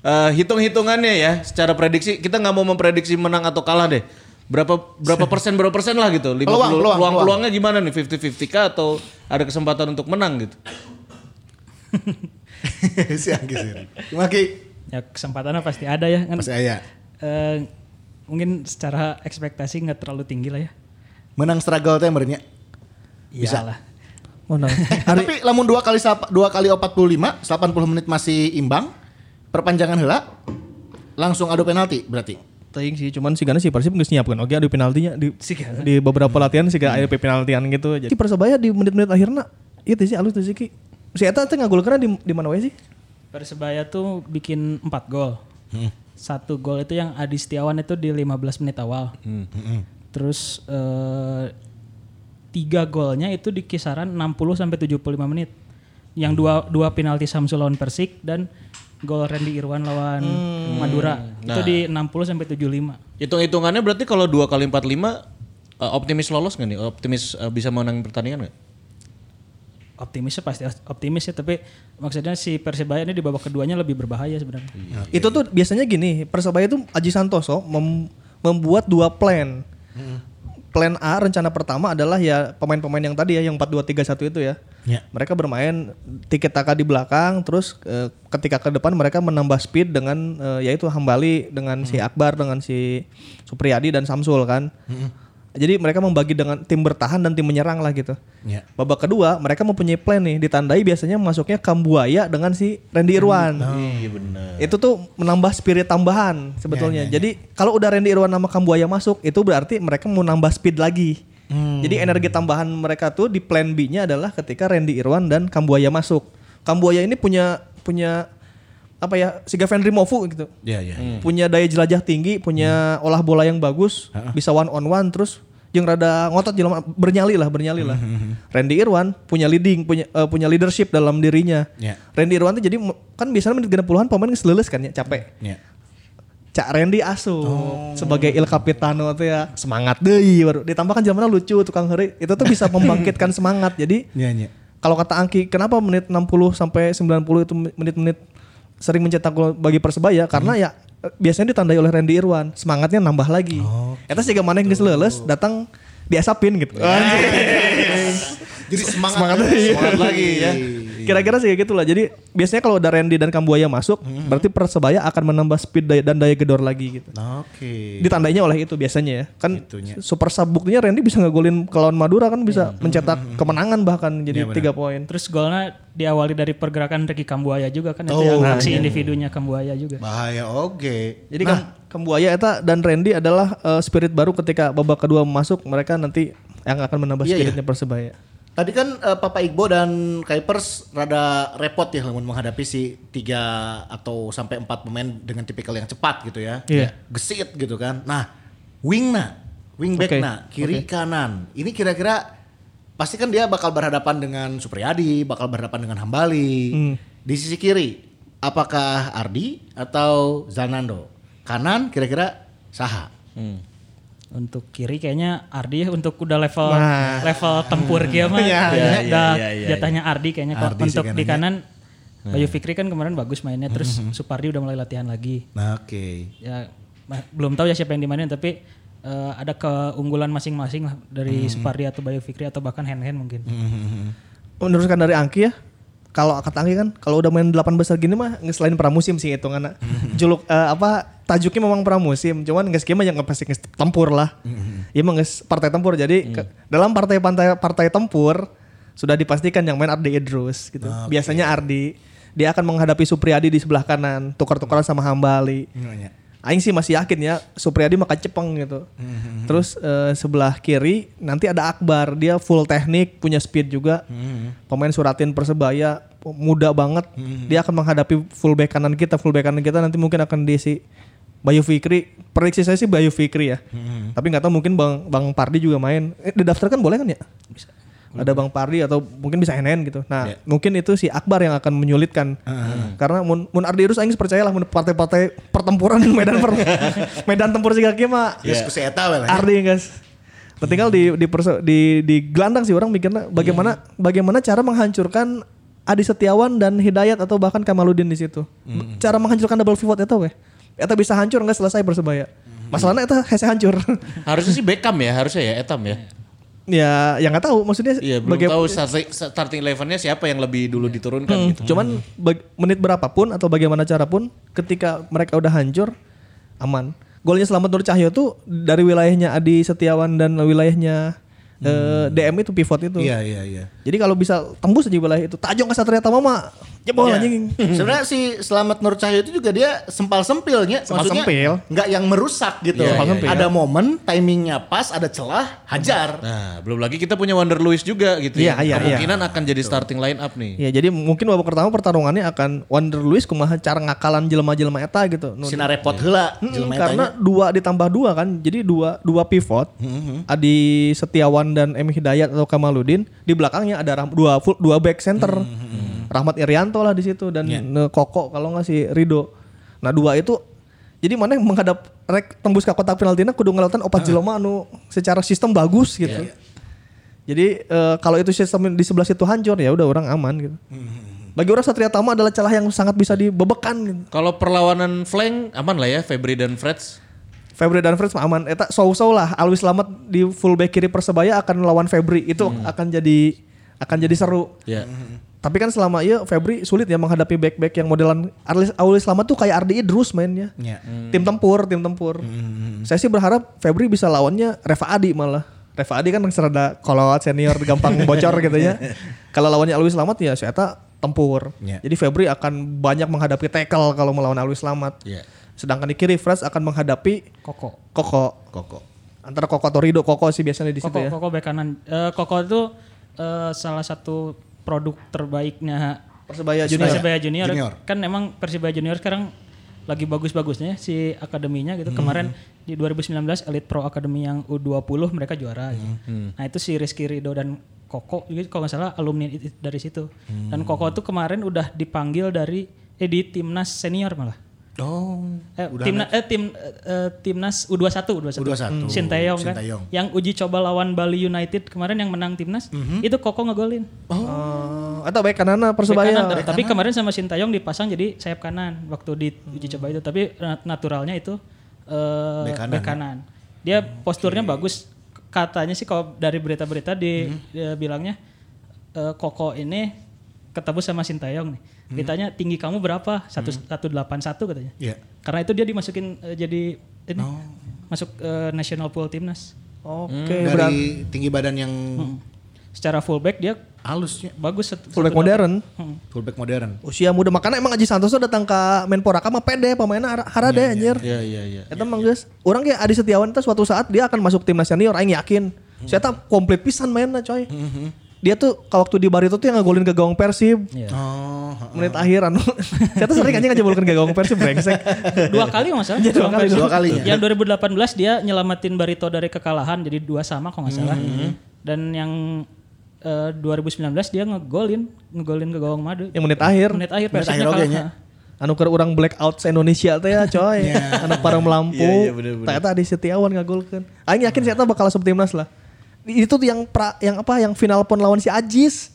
Eh, hitung-hitungannya ya, secara prediksi kita nggak mau memprediksi menang atau kalah deh. Berapa berapa persen berapa persen lah gitu. 50,
Peluang, peluang,
peluang, peluangnya gimana nih? 50-50 kah atau ada kesempatan untuk menang gitu?
si Anggi sih. Cuma Ki,
Ya kesempatannya pasti ada ya. Kan,
pasti aya.
eh, mungkin secara ekspektasi nggak terlalu tinggi lah ya.
Menang struggle teh meureun nya. Bisa.
Iyalah.
Oh, nah. Hari
Tapi lamun dua kali sap- dua kali 45, 80 menit masih imbang, perpanjangan heula langsung adu penalti berarti.
teuing sih cuman sigana si Persib geus nyiapkeun oge adu penaltinya di
Sigana.
Iya. di beberapa latihan siga aya penaltian gitu. Jadi Persebaya di menit-menit akhirnya Iya teh sih alus teh sih ki. Si Eta teh ngagulkeunna di, di mana wae sih?
Persebaya tuh bikin 4 gol. Satu gol itu yang Adi Setiawan itu di 15 menit awal. Terus eh, tiga golnya itu di kisaran 60 sampai 75 menit. Yang dua dua penalti Samsul lawan Persik dan gol Randy Irwan lawan Madura. Itu di 60 sampai 75.
Hitung-hitungannya berarti kalau 2 kali 45 eh, optimis lolos nggak nih? Optimis eh, bisa menang pertandingan nggak?
Optimisnya pasti optimis ya, tapi maksudnya si Persebaya ini di babak keduanya lebih berbahaya sebenarnya.
Itu tuh biasanya gini, Persebaya tuh Aji Santoso mem- membuat dua plan.
Hmm.
Plan A rencana pertama adalah ya pemain-pemain yang tadi ya yang 4-2-3-1 itu ya.
Ya.
Mereka bermain tiket taka di belakang terus eh, ketika ke depan mereka menambah speed dengan eh, yaitu Hambali
Hmm.
dengan si Akbar dengan si Supriyadi dan Samsul kan.
Hmm.
Jadi mereka membagi dengan tim bertahan dan tim menyerang lah gitu.
Ya.
Babak kedua mereka mempunyai plan nih ditandai biasanya masuknya Kambuaya dengan si Randy Irwan.
Oh.
Iya benar.
Itu tuh menambah spirit tambahan sebetulnya. Jadi kalau udah Randy Irwan sama Kambuaya masuk itu berarti mereka mau nambah speed lagi. Jadi energi tambahan mereka tuh di plan B-nya adalah ketika Randy Irwan dan Kambuaya masuk. Kambuaya ini punya punya apa ya Siga Fendry Mofu gitu.
Ya, ya.
Iya.
Punya daya jelajah tinggi, punya olah bola yang bagus, bisa one on one terus yang rada ngotot jelema bernyali lah, bernyali lah. Randy Irwan punya leading, punya eh, punya leadership dalam dirinya.
Ya.
Randy Irwan tuh jadi m- kan biasanya menit 60-an pemain geus leuleus kan ya, capek.
Ya.
Cak Randy asup sebagai Il Capitano tuh ya semangat deui baru ditambahkan zaman lucu tukang heri itu tuh bisa membangkitkan semangat. Jadi
Ya, ya.
kalau kata Angki, kenapa menit 60 sampai 90 itu menit-menit sering mencetak gol bagi Persebaya? Karena ya eh, biasanya ditandai oleh Randy Irwan, semangatnya nambah lagi. Eta sih mana yang geus leuleus datang diasapin gitu.
Jadi semangat,
Semangat lagi.
semangat lagi ya.
Kira-kira sih kayak gitulah. Jadi biasanya kalau udah Randy dan Kambuaya masuk, berarti Persebaya akan menambah speed daya- dan daya gedor lagi gitu.
Oke.
Ditandainya oleh itu biasanya ya. Kan
Itunya.
super sub buktinya Randy bisa ngegolin ke lawan Madura kan bisa mencetak kemenangan bahkan jadi tiga poin.
Terus golnya diawali dari pergerakan Ricky Kambuaya juga kan itu yang aksi individunya Kambuaya juga.
Bahaya oke.
kan
Jadi
Nah.
Kam Kambuaya eta dan Randy adalah eh, spirit baru ketika babak kedua masuk mereka nanti yang akan menambah
Iya,
spiritnya Persebaya.
Tadi kan eh, Papa Igbo dan Kuipers rada repot ya lamun menghadapi si tiga atau sampai empat pemain dengan tipikal yang cepat gitu ya.
Iya.
Gesit gitu kan. Nah, wingna, wingbackna, kiri kanan. Ini kira-kira pasti kan dia bakal berhadapan dengan Supriyadi, bakal berhadapan dengan Hambali. Di sisi kiri, apakah Ardi atau Zanando? Kanan kira-kira Saha.
Untuk kiri kayaknya Ardi untuk udah level
Nah.
level tempur dia
Iya,
mah udah
iya, iya, iya,
jatahnya Ardi kayaknya Kalau
Ardi sih
untuk di
kanannya.
kanan Bayu Fikri kan kemarin bagus mainnya terus Supardi udah mulai latihan lagi.
Nah, oke.
Ya ma- belum tahu ya siapa yang dimainin tapi eh, ada keunggulan masing-masing lah dari Supardi atau Bayu Fikri atau bahkan Hen Hen mungkin.
Meneruskan dari Angki ya. Kalau kata Angki kan kalau udah main 8 besar gini mah nggak selain pramusim sih itu karena juluk eh, apa tajuknya memang pramusim, cuman nggak skema yang pasti nggak tempur lah. Iya mah nggak partai tempur. Jadi
Hmm.
ke- dalam partai partai partai tempur sudah dipastikan yang main Ardi Idrus gitu. Biasanya Ardi dia akan menghadapi Supriyadi di sebelah kanan, tukar-tukaran sama Hambali.
Nyonya.
Aing sih masih yakin ya Supriyadi makan cepeng gitu. Terus eh, sebelah kiri nanti ada Akbar, dia full teknik, punya speed juga. Pemain suratin Persebaya muda banget. Dia akan menghadapi full back kanan kita, full back kanan kita nanti mungkin akan diisi Bayu Fikri. Prediksi saya sih Bayu Fikri ya. Tapi nggak tahu mungkin Bang Bang Pardi juga main. Eh, didaftarkan boleh kan ya? Ada Bang Pardi atau mungkin bisa NN gitu.
Ya.
Nah, mungkin itu si Akbar yang akan menyulitkan. Karena mun mun Ardi Irus aing percayalah mun partai-partai pertempuran di medan per, medan tempur siga kieu mah
Yes, ku si eta we lah ya.
Ardi guys. Nah, tinggal di di perse- di di gelandang sih orang mikirnya bagaimana
Ya.
bagaimana cara menghancurkan Adi Setiawan dan Hidayat atau bahkan Kamaludin di situ. Cara menghancurkan double pivot itu weh. Eta bisa hancur nggak selesai persebaya. Masalahnya eta hese hancur.
Harusnya sih Beckham ya, harusnya ya Etam ya.
Hmm.
ya, yang nggak tahu maksudnya
Iya, belum
baga-
tahu starting, starting elevennya siapa yang lebih dulu diturunkan
Hmm.
gitu.
kan Cuman bag- menit berapapun atau bagaimana cara pun ketika mereka udah hancur aman. Golnya Selamat Nur Cahyo tuh dari wilayahnya Adi Setiawan dan wilayahnya eh, DM itu pivot itu.
Iya iya iya.
Jadi kalau bisa tembus aja bola itu. Tajong ke Satria Tamama. Jebol
Ya.
anjing.
Sebenarnya si Selamat Nur Cahyo itu juga dia sempal-sempilnya,
Sempal-sempil.
maksudnya nggak yang merusak gitu.
Iya, Sempal-sempil.
Ada momen, timingnya pas, ada celah, hajar.
Nah, belum lagi kita punya Wander Lewis juga gitu ya.
Iya, iya, iya.
Kemungkinan akan jadi starting line up nih.
Ya jadi mungkin babak pertama pertarungannya akan Wander Luis kumaha cara ngakalan jelema-jelema eta gitu. Nu-
Sina repot heula,
Mm-mm,
jelema
karena dua ditambah dua kan, jadi dua dua pivot, Adi Setiawan dan M Hidayat atau Kamaludin di belakangnya ada Rahm- dua full, dua back center, Rahmat Irianto lah di situ dan eh, Koko kalau nggak si Rido. Nah dua itu jadi mana yang menghadap rek tembus ke kotak penaltina kudu ngelautan opat jelema anu secara sistem bagus gitu. Jadi eh, kalau itu sistem di sebelah situ hancur ya udah orang aman gitu. Bagi orang Satria Tama adalah celah yang sangat bisa dibebekan gitu.
Kalau perlawanan flank aman lah ya Febri dan Freds.
Febri dan Freds mah aman. Eta so-so lah. Alwi Slamet di fullback kiri Persebaya akan lawan Febri. Itu akan jadi akan jadi seru.
Ya.
Tapi kan selama iya Febri sulit ya menghadapi back-back yang modelan Alwi, Alwi Slamet tuh kayak Ardi Idrus mainnya.
Iya. Hmm,
Tim tempur, tim tempur. Saya sih berharap Febri bisa lawannya Reva Adi malah. Reva Adi kan serada kolot senior gampang bocor gitu ya. Kalau lawannya Alwi Slamet ya si Eta tempur.
Iya.
Jadi Febri akan banyak menghadapi tackle kalau melawan Alwi Slamet.
Iya.
Sedangkan di kiri Freds akan menghadapi
Koko.
Koko.
Koko.
Antara Koko atau Rido, Koko sih biasanya di situ
Koko,
ya.
Koko bek kanan. Eh, Koko itu eh, salah satu produk terbaiknya
Persebaya Junior.
Persebaya Junior.
Junior.
Kan emang Persebaya Junior sekarang lagi bagus-bagusnya si akademinya gitu. Kemarin di 2019 Elite Pro Academy yang U20 mereka juara. gitu. Nah itu si Rizky Rido dan Koko juga kalau nggak salah alumni i- i- dari situ. Dan Koko tuh kemarin udah dipanggil dari eh di timnas senior malah.
Oh.
Eh, timna- eh, tim eh, eh, timnas U21 U21.
U21.
Sinteyong kan.
Sinteyong.
Yang uji coba lawan Bali United kemarin yang menang timnas
Mhm.
itu Koko ngegolin.
Oh, atau baik kanana
Bek kanan,
Persebaya. ya?
tapi- tapi kemarin sama Sintayong dipasang jadi sayap kanan waktu di uji coba itu. Tapi na- naturalnya itu eh
Bek kanan,
bek kanan. Dia posturnya bagus. Katanya sih kalau dari berita-berita di
Mhm.
dia bilangnya eh, Koko ini ketemu sama Sintayong nih.
Mhm.
Ditanya tinggi kamu berapa? Satu- 181 katanya.
Iya.
Karena itu dia dimasukin eh, jadi ini masuk eh, national pool timnas.
Oke, berarti
Hmm. Dari tinggi badan yang
Secara fullback dia
halusnya
bagus. satu-
fullback
188.
modern.
Hmm.
fullback modern.
Usia muda makanya emang Aji Santoso datang ke Menpora mah pede pemainnya har- harade anjir.
Iya, iya, iya.
Eta mah geus. Urang ge Adi Setiawan itu suatu saat dia akan masuk timnas senior aing yakin.
Hmm.
Saya tak komplit pisan mainnya coy. Dia tuh ke waktu di Barito tuh yang ngegolin ke gawang Persib.
Iya.
Oh.
Menit akhir anu. Saya tuh sering aja ngejebulkan ke gawang Persib brengsek.
dua kali nggak salah.
Iya, Dua kali,
Persib.
dua kali ya.
Yang 2018 dia nyelamatin Barito dari kekalahan jadi dua sama kalau nggak salah.
Hmm.
Dan yang eh, 2019 dia ngegolin, ngegolin ke gawang madu.
Yang menit akhir.
Menit akhir
Menit
persisnya
akhir oge
kalah.
nya.
anu keur urang blackout se Indonesia teh ya coy anu parang
Iya, iya,
melampau
bener-bener.
ternyata Adi Setiawan ngagolkeun aing yakin saya bakal asup timnas lah itu tuh yang pra, yang apa yang final pon lawan si Ajis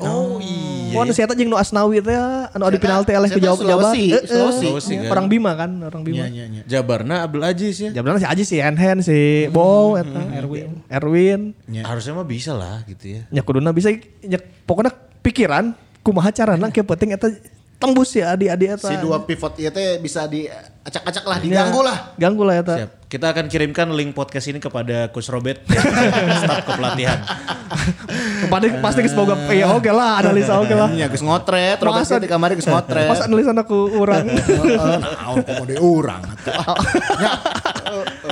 Oh, iya.
Pon saya jeung nu Asnawi teh anu
Siapa-
adi penalti eleh
siapa
ke jawab jawab.
Sulawesi? Sulawesi.
Sulawesi, kan?
Orang Bima kan, orang Bima.
Iya iya iya.
Jabarna Abdul Aziz ya.
Jabaran si Ajis si Enhen si Bow eta Erwin. Erwin.
Ya.
Iya. Harusnya mah bisa lah gitu ya.
Nya kuduna bisa nya pokoknya pikiran kumaha carana ke penting eta tembus ya adi-adi eta. Ya,
Si dua pivot ieu teh bisa diacak-acak
Iya.
lah, diganggu lah.
Ganggu lah eta.
Siap. Kita akan kirimkan link podcast ini kepada Coach Robert staf kepelatihan.
Pasti pasti geus boga ya oke lah analisa oke lah.
Iya, geus ngotret, Robert
Ah. Masa-
di kamari geus ngotret.
Pas analisa aku urang.
Eh, Heeh, naon komode eh, urang atuh.
Ya.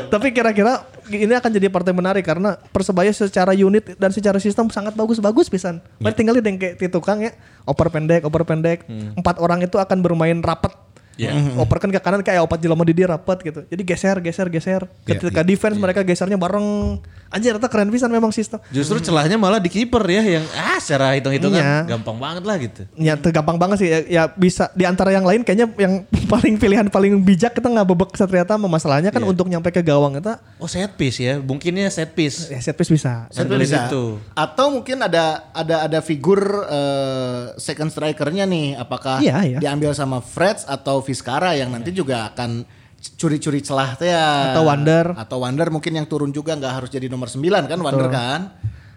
Tapi kira-kira ini akan jadi partai menarik karena Persebaya secara unit dan secara sistem sangat bagus-bagus pisan.
Ya.
Mari tinggal di dengke ti tukang ya. Oper pendek, oper pendek.
Hmm.
Empat orang itu akan bermain rapat.
Ya.
Iya.
Oper kan ke kanan kayak opat jelema di dia rapat gitu. Jadi geser, geser, geser.
Ya,
Ketika defense mereka gesernya bareng. Anjir, ternyata keren pisan memang sistem.
Justru celahnya malah di kiper ya yang ah secara hitung-hitungan
Iya.
gampang banget lah gitu.
Ya teu gampang banget sih ya, ya bisa di antara yang lain kayaknya yang paling pilihan paling bijak kita nggak bebek Satria Tama masalahnya kan untuk nyampe ke gawang kita
Oh set piece ya, mungkinnya set piece.
ya set piece bisa.
Saya
Andelin
bisa.
itu.
Atau mungkin ada ada ada figur eh, second strikernya nih, apakah
Iya, iya.
diambil sama Freds atau Vizcara yang nanti juga akan c- curi-curi celah teh ya.
Atau Wander.
Atau Wander mungkin yang turun juga nggak harus jadi nomor 9 kan Wander kan.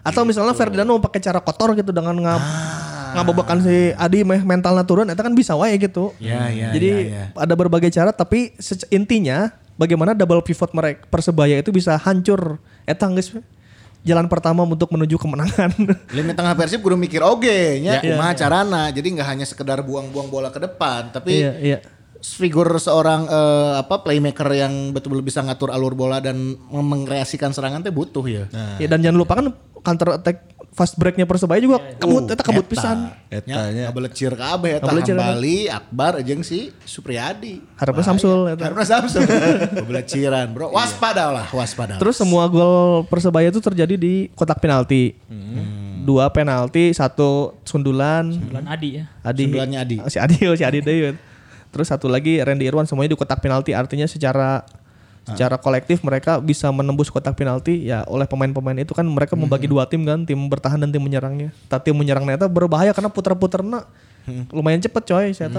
Atau misalnya Ferdinand mau pakai cara kotor gitu dengan nggak ngabebekan si Adi meh mentalnya turun itu kan bisa wae gitu.
Ya, ya,
Jadi
ya, ya.
ada berbagai cara tapi sec- intinya bagaimana double pivot mereka Persebaya itu bisa hancur eta geus jalan pertama untuk menuju kemenangan.
Lini tengah Persib kudu mikir oge nya
Iya.
kumaha carana. Jadi nggak hanya sekedar buang-buang bola ke depan, tapi
iya, iya.
figur seorang eh, apa playmaker yang betul-betul bisa ngatur alur bola dan meng- mengkreasikan serangan teh butuh ya.
Ya, dan jangan lupa kan counter attack fast breaknya Persebaya juga
Iya,
kebut, Uh, eta kebut pisan.
Etanya belecir kabeh eta
Ngabelecir, eta.
Hambali, Akbar jeung si Supriyadi.
Harapnya Samsul ya, kan. eta.
Karena Samsung beleciran, Bro. Waspadalah, waspadalah.
Iya. Terus semua gol Persebaya itu terjadi di kotak penalti. Dua penalti, satu sundulan.
Bulan Adi ya.
Adi.
Sundulannya Adi.
Si Adi, oh, si Adi deh. Terus satu lagi Randy Irwan semuanya di kotak penalti artinya secara secara kolektif mereka bisa menembus kotak penalti ya oleh pemain-pemain itu kan mereka membagi dua tim kan tim bertahan dan tim menyerangnya. Tapi tim menyerangnya itu berbahaya karena puter-puternya lumayan cepet coy saya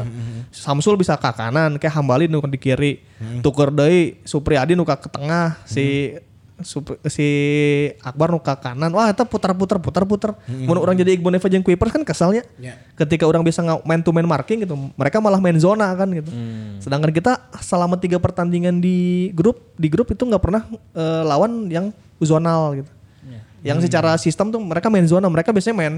Samsul bisa ke kanan kayak Hambali nu di kiri. Tuker deui Supriyadi nu ka ke tengah si Sup- si Akbar nu ka kanan wah eta putar-putar putar-putar mun orang jadi Iqbal Neva jeung Kuipers kan kesalnya ketika orang bisa nggak main to main marking gitu mereka malah main zona kan gitu sedangkan kita selama tiga pertandingan di grup di grup itu nggak pernah eh, lawan yang zonal gitu yang
Hmm.
secara sistem tuh mereka main zona mereka biasanya main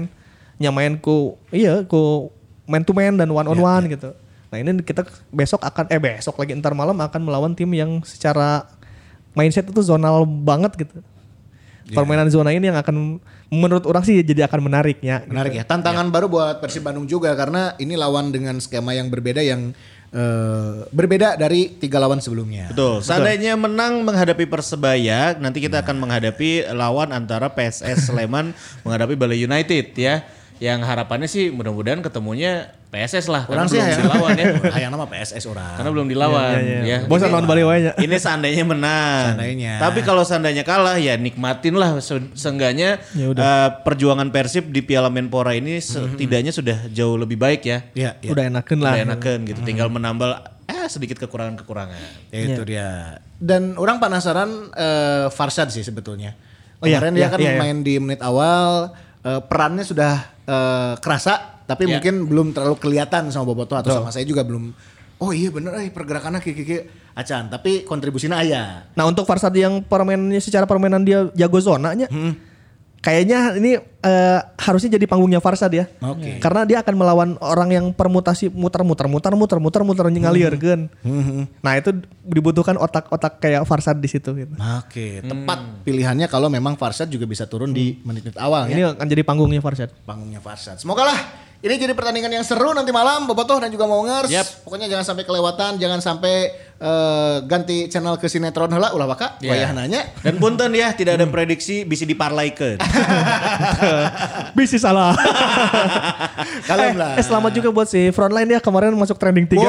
nyamain ku iya ku main to main dan one
Ya,
on one gitu nah ini kita besok akan eh besok lagi ntar malam akan melawan tim yang secara mindset itu zonal banget gitu.
Ya.
Permainan zona ini yang akan menurut orang sih jadi akan menariknya.
Menarik ya.
Iya.
Tantangan baru buat Persib Bandung juga karena ini lawan dengan skema yang berbeda yang eh, berbeda dari tiga lawan sebelumnya.
Betul. Seandainya menang menghadapi Persebaya, nanti kita akan menghadapi lawan antara PSS Sleman menghadapi Bali United ya. Yang harapannya sih mudah-mudahan ketemunya PSS lah.
Orang sih
karena belum
hayang
dilawan ya.
Hayang nama PSS orang.
Karena belum dilawan ya.
Bosan lawan Bali wae nya.
Ini seandainya menang.
Seandainya.
Tapi kalau seandainya kalah ya nikmatin lah Se- seenggaknya eh, perjuangan Persib di Piala Menpora ini setidaknya sudah jauh lebih baik ya.
Ya, ya.
Udah enakan lah.
Udah enakan gitu. Tinggal menambal eh sedikit kekurangan-kekurangan.
Ya, itu
Iya.
dia. Dan orang penasaran eh, Farshad sih sebetulnya.
Oh, iya,
Kemarin
iya,
dia kan
iya, iya.
main di menit awal eh, perannya sudah eh, kerasa tapi
Iya.
mungkin belum terlalu kelihatan sama Boboto atau sama saya juga belum. Oh iya bener eh pergerakannya kiki acan tapi kontribusinya "Iya." ayah.
Nah untuk Farsad yang permainannya secara permainan dia jago zonanya,
Hmm.
kayaknya ini eh, harusnya jadi panggungnya Farsad ya.
Oke.
Karena dia akan melawan orang yang permutasi muter-muter, muter-muter, muter-muter
Hmm.
ngalirkan. Nah itu dibutuhkan otak-otak kayak Farsad di situ. Gitu.
Nah, Oke, tepat pilihannya kalau memang Farshad juga bisa turun di menit-menit awal ya.
Hmm. Ini akan jadi panggungnya Farsad.
Panggungnya Farshad. Semoga lah ini jadi pertandingan yang seru nanti malam Bobotoh dan juga mau ngers.
Yap.
Pokoknya jangan sampai kelewatan, jangan sampai eh, ganti channel ke sinetron heula ulah waka
Iya.
wayah nanya. Hmm.
Dan punten ya, tidak ada prediksi bisa diparlaikeun.
Bisnis salah.
Kalem
Eh,
lah.
Eh, selamat juga buat si frontline ya kemarin masuk trending 3.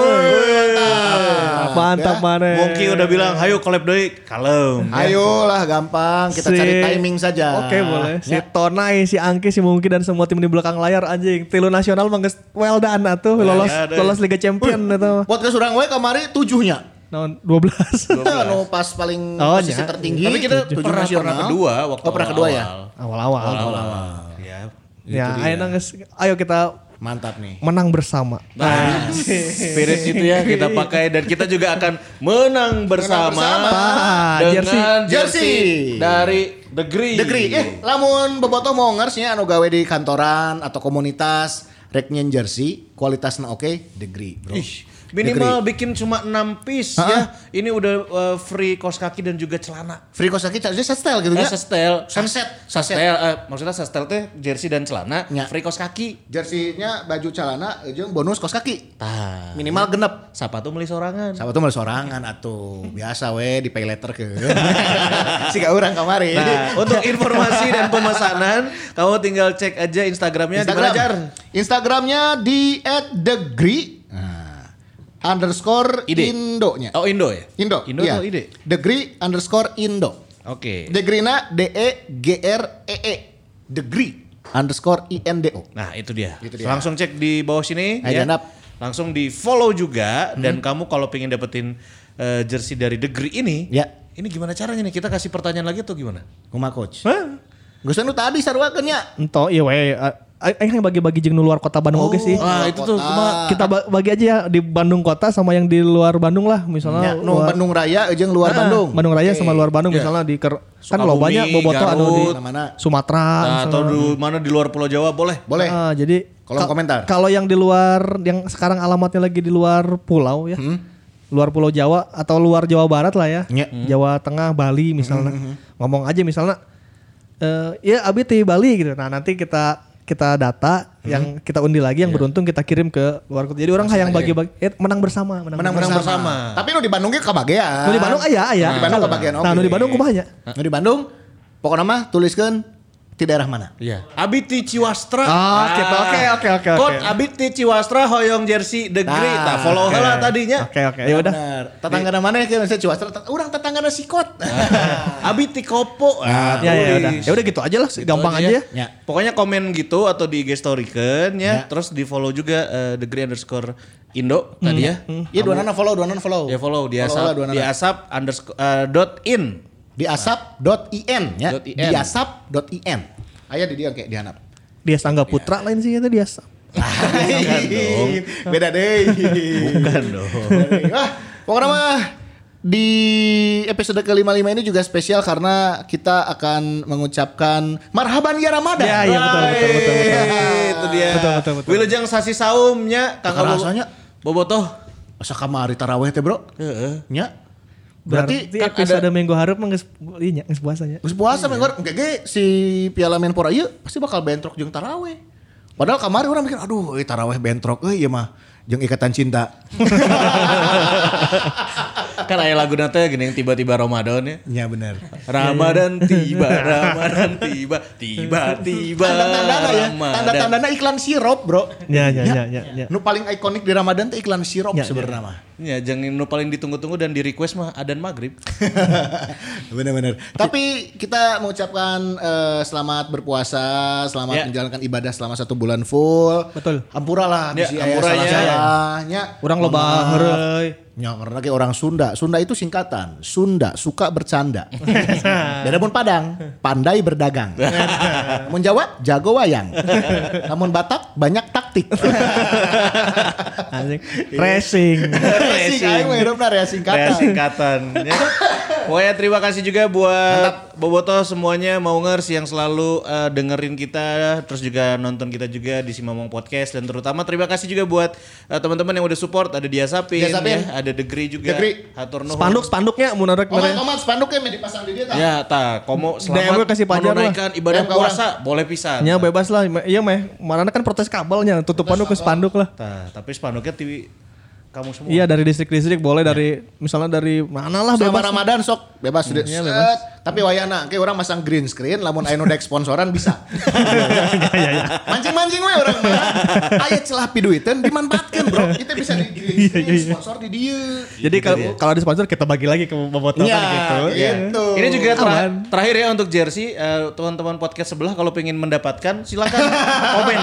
Ya.
Mantap mana.
Wongki udah bilang, "Hayo collab deui." Kalem.
Ayolah gampang, kita
Si-
cari timing saja.
Oke boleh. Si
Ya.
Tonai, si Angki, si Mungki dan semua tim di belakang layar anjing. Tilu nasional mangges well done atuh lolos
ya, deh.
lolos Liga Champion atau
Podcast orang we kamari tujuhnya.
naon 12.
Kita anu pas paling
Oh,
posisi
ya.
tertinggi.
Tapi kita
tujuh
pernah
nasional.
pernah kedua waktu
Oh, pernah kedua ya.
Awal-awal.
Awal-awal. Ya.
Ya, ayo nangis. Ayo kita
Mantap nih.
menang bersama.
Nah, spirit itu ya kita pakai dan kita juga akan menang bersama,
bersama.
dengan
Jersey.
jersey.
Jersey.
dari The Green.
Degri, eh lamun bobotoh mau ngersnya anu gawe di kantoran atau komunitas rek nyen jersey kualitasnya oke Degri bro.
Ih, minimal bikin cuma 6 piece ya. Ini udah uh, free kaos kaki dan juga celana.
Degri. Free Kosaki jadi style gitu
Eh,
ya.
sestel,
Sunset, sunset.
sestel, eh, maksudnya sestel teh jersey dan celana,
Ya.
free kaos kaki.
Jerseynya baju celana jeung bonus kos kaki.
Tah.
Minimal genep.
Siapa tuh beli sorangan?
Sama tuh mah sorangan atuh. Biasa we di pay letter ke. Siga urang kamari.
Nah, untuk informasi dan pemesanan, kamu tinggal cek aja Instagramnya di mana, Jar?
Instagramnya di @degri nah, underscore
Ide.
indonya.
Oh, Indo ya?
Indo.
Indo
iya.
atau ide?
Degree underscore Indo.
Oke.
Degrina D E G R E E. Degree underscore I N D O.
Nah, itu dia.
Itu dia.
Langsung cek di bawah sini ya.
Ayo, Janap.
Langsung di follow juga
Hmm.
dan kamu kalau pengen dapetin eh, jersey dari Degree ini,
Ya.
ini gimana caranya nih? Kita kasih pertanyaan lagi atau gimana?
Kuma coach.
Hah?
Gusan lu tadi sarwakeun nya.
Ento iya we eh, aing yang bagi-bagi jeung nu luar kota Bandung oke sih.
Ah, itu tuh cuma
Kita ba- bagi aja ya di Bandung kota sama yang di luar Bandung lah,
Ya,
misalnya
nu
luar- Ah,
Bandung Raya jeung luar Bandung.
Oh, Bandung Raya sama luar Bandung misalnya di Ker- kan
Sukabumi,
lo banyak boboto anu di
Garut,
mana-mana.
Sumatera
Nah,
misalnya.
atau di mana di luar Pulau Jawa boleh.
Boleh.
Ah, jadi
Kolom
kal-
komentar.
Kalau yang di luar yang sekarang alamatnya lagi di luar pulau ya. Luar pulau Jawa atau luar Jawa Barat lah ya.
Hmm. Ya. Hmm,
Jawa Tengah, Bali misalnya. Ngomong aja misalnya eh ya Abi di Bali gitu. Nah, nanti kita kita data
Hmm.
yang kita undi lagi
Iya.
yang beruntung kita kirim ke luar kota. Jadi orang hayang bagi-bagi eh, menang bersama, menang,
menang,
Menang
bersama.
bersama.
Tapi nu di Bandung ge kabagean.
Nu di Bandung ah, iya, aya aya.
Nu di Bandung kebagian oke.
Nah, nu di Bandung kumaha nya?
Nu di Bandung pokoknya mah tuliskan di daerah mana.
Iya. Abiti Ciwastra.
Ah, gitu. Oke, oke, oke, oke. Ah,
Kod Abiti Ciwastra Hoyong Jersey The Great. Nah, follow
oke.
heula tadinya.
Oke, oke. Ya udah.
Bener. Tetanggana mana ya misalnya Ciwastra, tet- urang tetanggana Sikot.
Ah. Abiti Kopo. Ah,
Ya ya
tulis.
udah. Ya udah gitu aja lah, gampang aja ya.
Ya.
Pokoknya komen gitu atau di IG story-kan ya. Terus di follow juga eh, The Great underscore Indo tadi
Hmm.
ya.
Iya dua nana follow, dua nana follow.
Ya follow di
lah
asap,
dua
di
nana.
asap underscore eh, dot in.
Di asap.in ya.
Dot IN.
Di asap.in. Aya di dia kayak dihanap.
Dia Tangga Putra lain sih itu dia.
Iya. Beda deh. Bukan dong. Wah, pokoknya mah di episode ke-55 ini juga spesial karena kita akan mengucapkan marhaban ya Ramadan.
Ya,
iya,
ya, betul, betul, betul,
Eh,
betul.
itu dia.
Betul, betul, betul.
Wilujeng sasi saumnya Kang Bobo-
Rasanya.
Bobotoh.
Asa kamari taraweh teh, Bro.
Heeh.
Nya.
Berarti,
Berarti, kan
episode
ada
minggu harap mah geus iya geus puasanya.
Geus puasa mengor enggak ge si Piala Menpora ieu pasti bakal bentrok jeung taraweh. Padahal kamari orang mikir aduh euy taraweh bentrok euy ieu mah jeung ikatan cinta.
Kan aya lagu nanti gini yang tiba-tiba Ramadan ya.
Nya bener.
Ramadan
Ya,
tiba, Ramadan tiba, tiba-tiba
Tanda-tandana ya.
Ramadan.
Tanda-tandana iklan sirup, Bro.
Ya, ya, ya, ya, ya.
Nu paling ikonik di Ramadan teh iklan sirup
Ya,
sebenarnya mah.
Ya, jangan nu paling ditunggu-tunggu dan di request mah adan maghrib.
Bener-bener. Tapi kita mengucapkan eh, selamat berpuasa, selamat
Ya.
menjalankan ibadah selama satu bulan full.
Betul.
Hampura lah,
Ya,
bisi
hampura
salah
ya.
salahnya.
Orang loba heureuy.
Ya, karena kayak orang Sunda. Sunda itu singkatan. Sunda suka bercanda. Beda pun Padang, pandai berdagang. Mun Jawa, jago wayang. Namun Batak, banyak taktik.
Anjing. Racing.
Racing, aing mah hidupna rea
Kayak
singkatan.
singkatan. ya. Pokoknya terima kasih juga buat Boboto semuanya mau ngers yang selalu eh, dengerin kita terus juga nonton kita juga di Simamong Podcast dan terutama terima kasih juga buat eh, teman-teman yang udah support ada Dia Sapin,
Dia Sapin.
ya, ada Degri juga,
Degri.
Hatur Nuhun.
Spanduk-spanduknya mun ada kemarin.
Komat-komat spanduknya mah dipasang di dia tah.
Ya, ta, komo selamat
DM kasih pajar lah.
menunaikan ibadah
DM ke
puasa, boleh pisan.
Ya bebas lah, me- iya meh. Marana kan protes kabelnya, tutup spanduk ke spanduk lah.
Ta, tapi spanduknya tiwi kamu semua.
Iya dari distrik-distrik boleh dari misalnya dari mana lah
Selama
bebas.
Ramadan sok bebas deh. Set. Tapi wayana, kayak orang masang green screen, lamun ayo dek sponsoran bisa. Iya, Mancing-mancing we orang mah. Aya celah piduiteun dimanfaatkan, Bro. Kita bisa di green screen, sponsor di dieu.
Jadi kalau kalau di sponsor kita bagi lagi ke bobotoh kan gitu.
Iya, gitu.
Ini juga ter- terakhir ya untuk jersey eh, teman-teman podcast sebelah kalau pengen mendapatkan silakan komen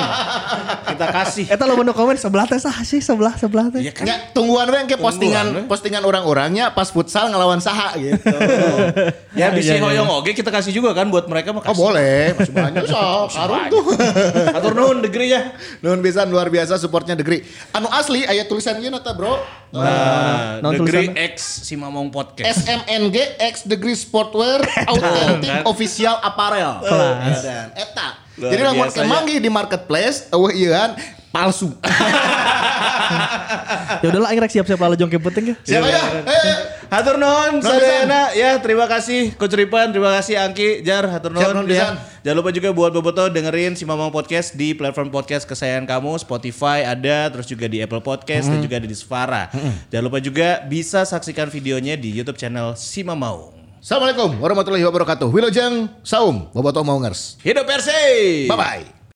kita kasih.
Eta Eh, lo menu komen sebelah teh sah sih sebelah sebelah teh.
Iya kan?
Ya, tungguan eh? we engke postingan
we.
postingan orang-orangnya pas futsal ngelawan saha gitu.
Ya bisa hoyong oge kita kasih juga kan buat mereka
Oh
makasih.
boleh, masih banyak sok, sarung tuh.
Atur nuhun degree ya.
Nuhun pisan luar biasa supportnya Degri. Anu asli aya tulisan ieu nata, Bro.
Nah,
non
degree
tulisan.
X si Mamong Podcast.
SMNG X Degree Sportwear Authentic
Kan?
Official Apparel. Iya,
Kelas.
Dan eta.
Luar
Jadi lamun
biasa Iya, ya.
kemangi di marketplace, eh, eueuh ieuan kan? palsu.
Ya udahlah aing rek siap-siap lalu jongke penting ya.
Siapa
iya.
ya? Eh,
Hatur nuhun sadayana ya terima kasih Kucuripan, terima kasih Angki, Jar, hatur
Siap,
nuhun
nuhun pisan.
ya. Jangan lupa juga buat Boboto dengerin si Mamang Podcast di platform podcast kesayangan kamu, Spotify ada, terus juga di Apple Podcast dan juga ada di Sfara. Jangan lupa juga bisa saksikan videonya di YouTube channel Si Mamaung.
Assalamualaikum warahmatullahi wabarakatuh. Wilujeng Saum, Bobotoh Maungers.
Hidup Persi.
Bye bye.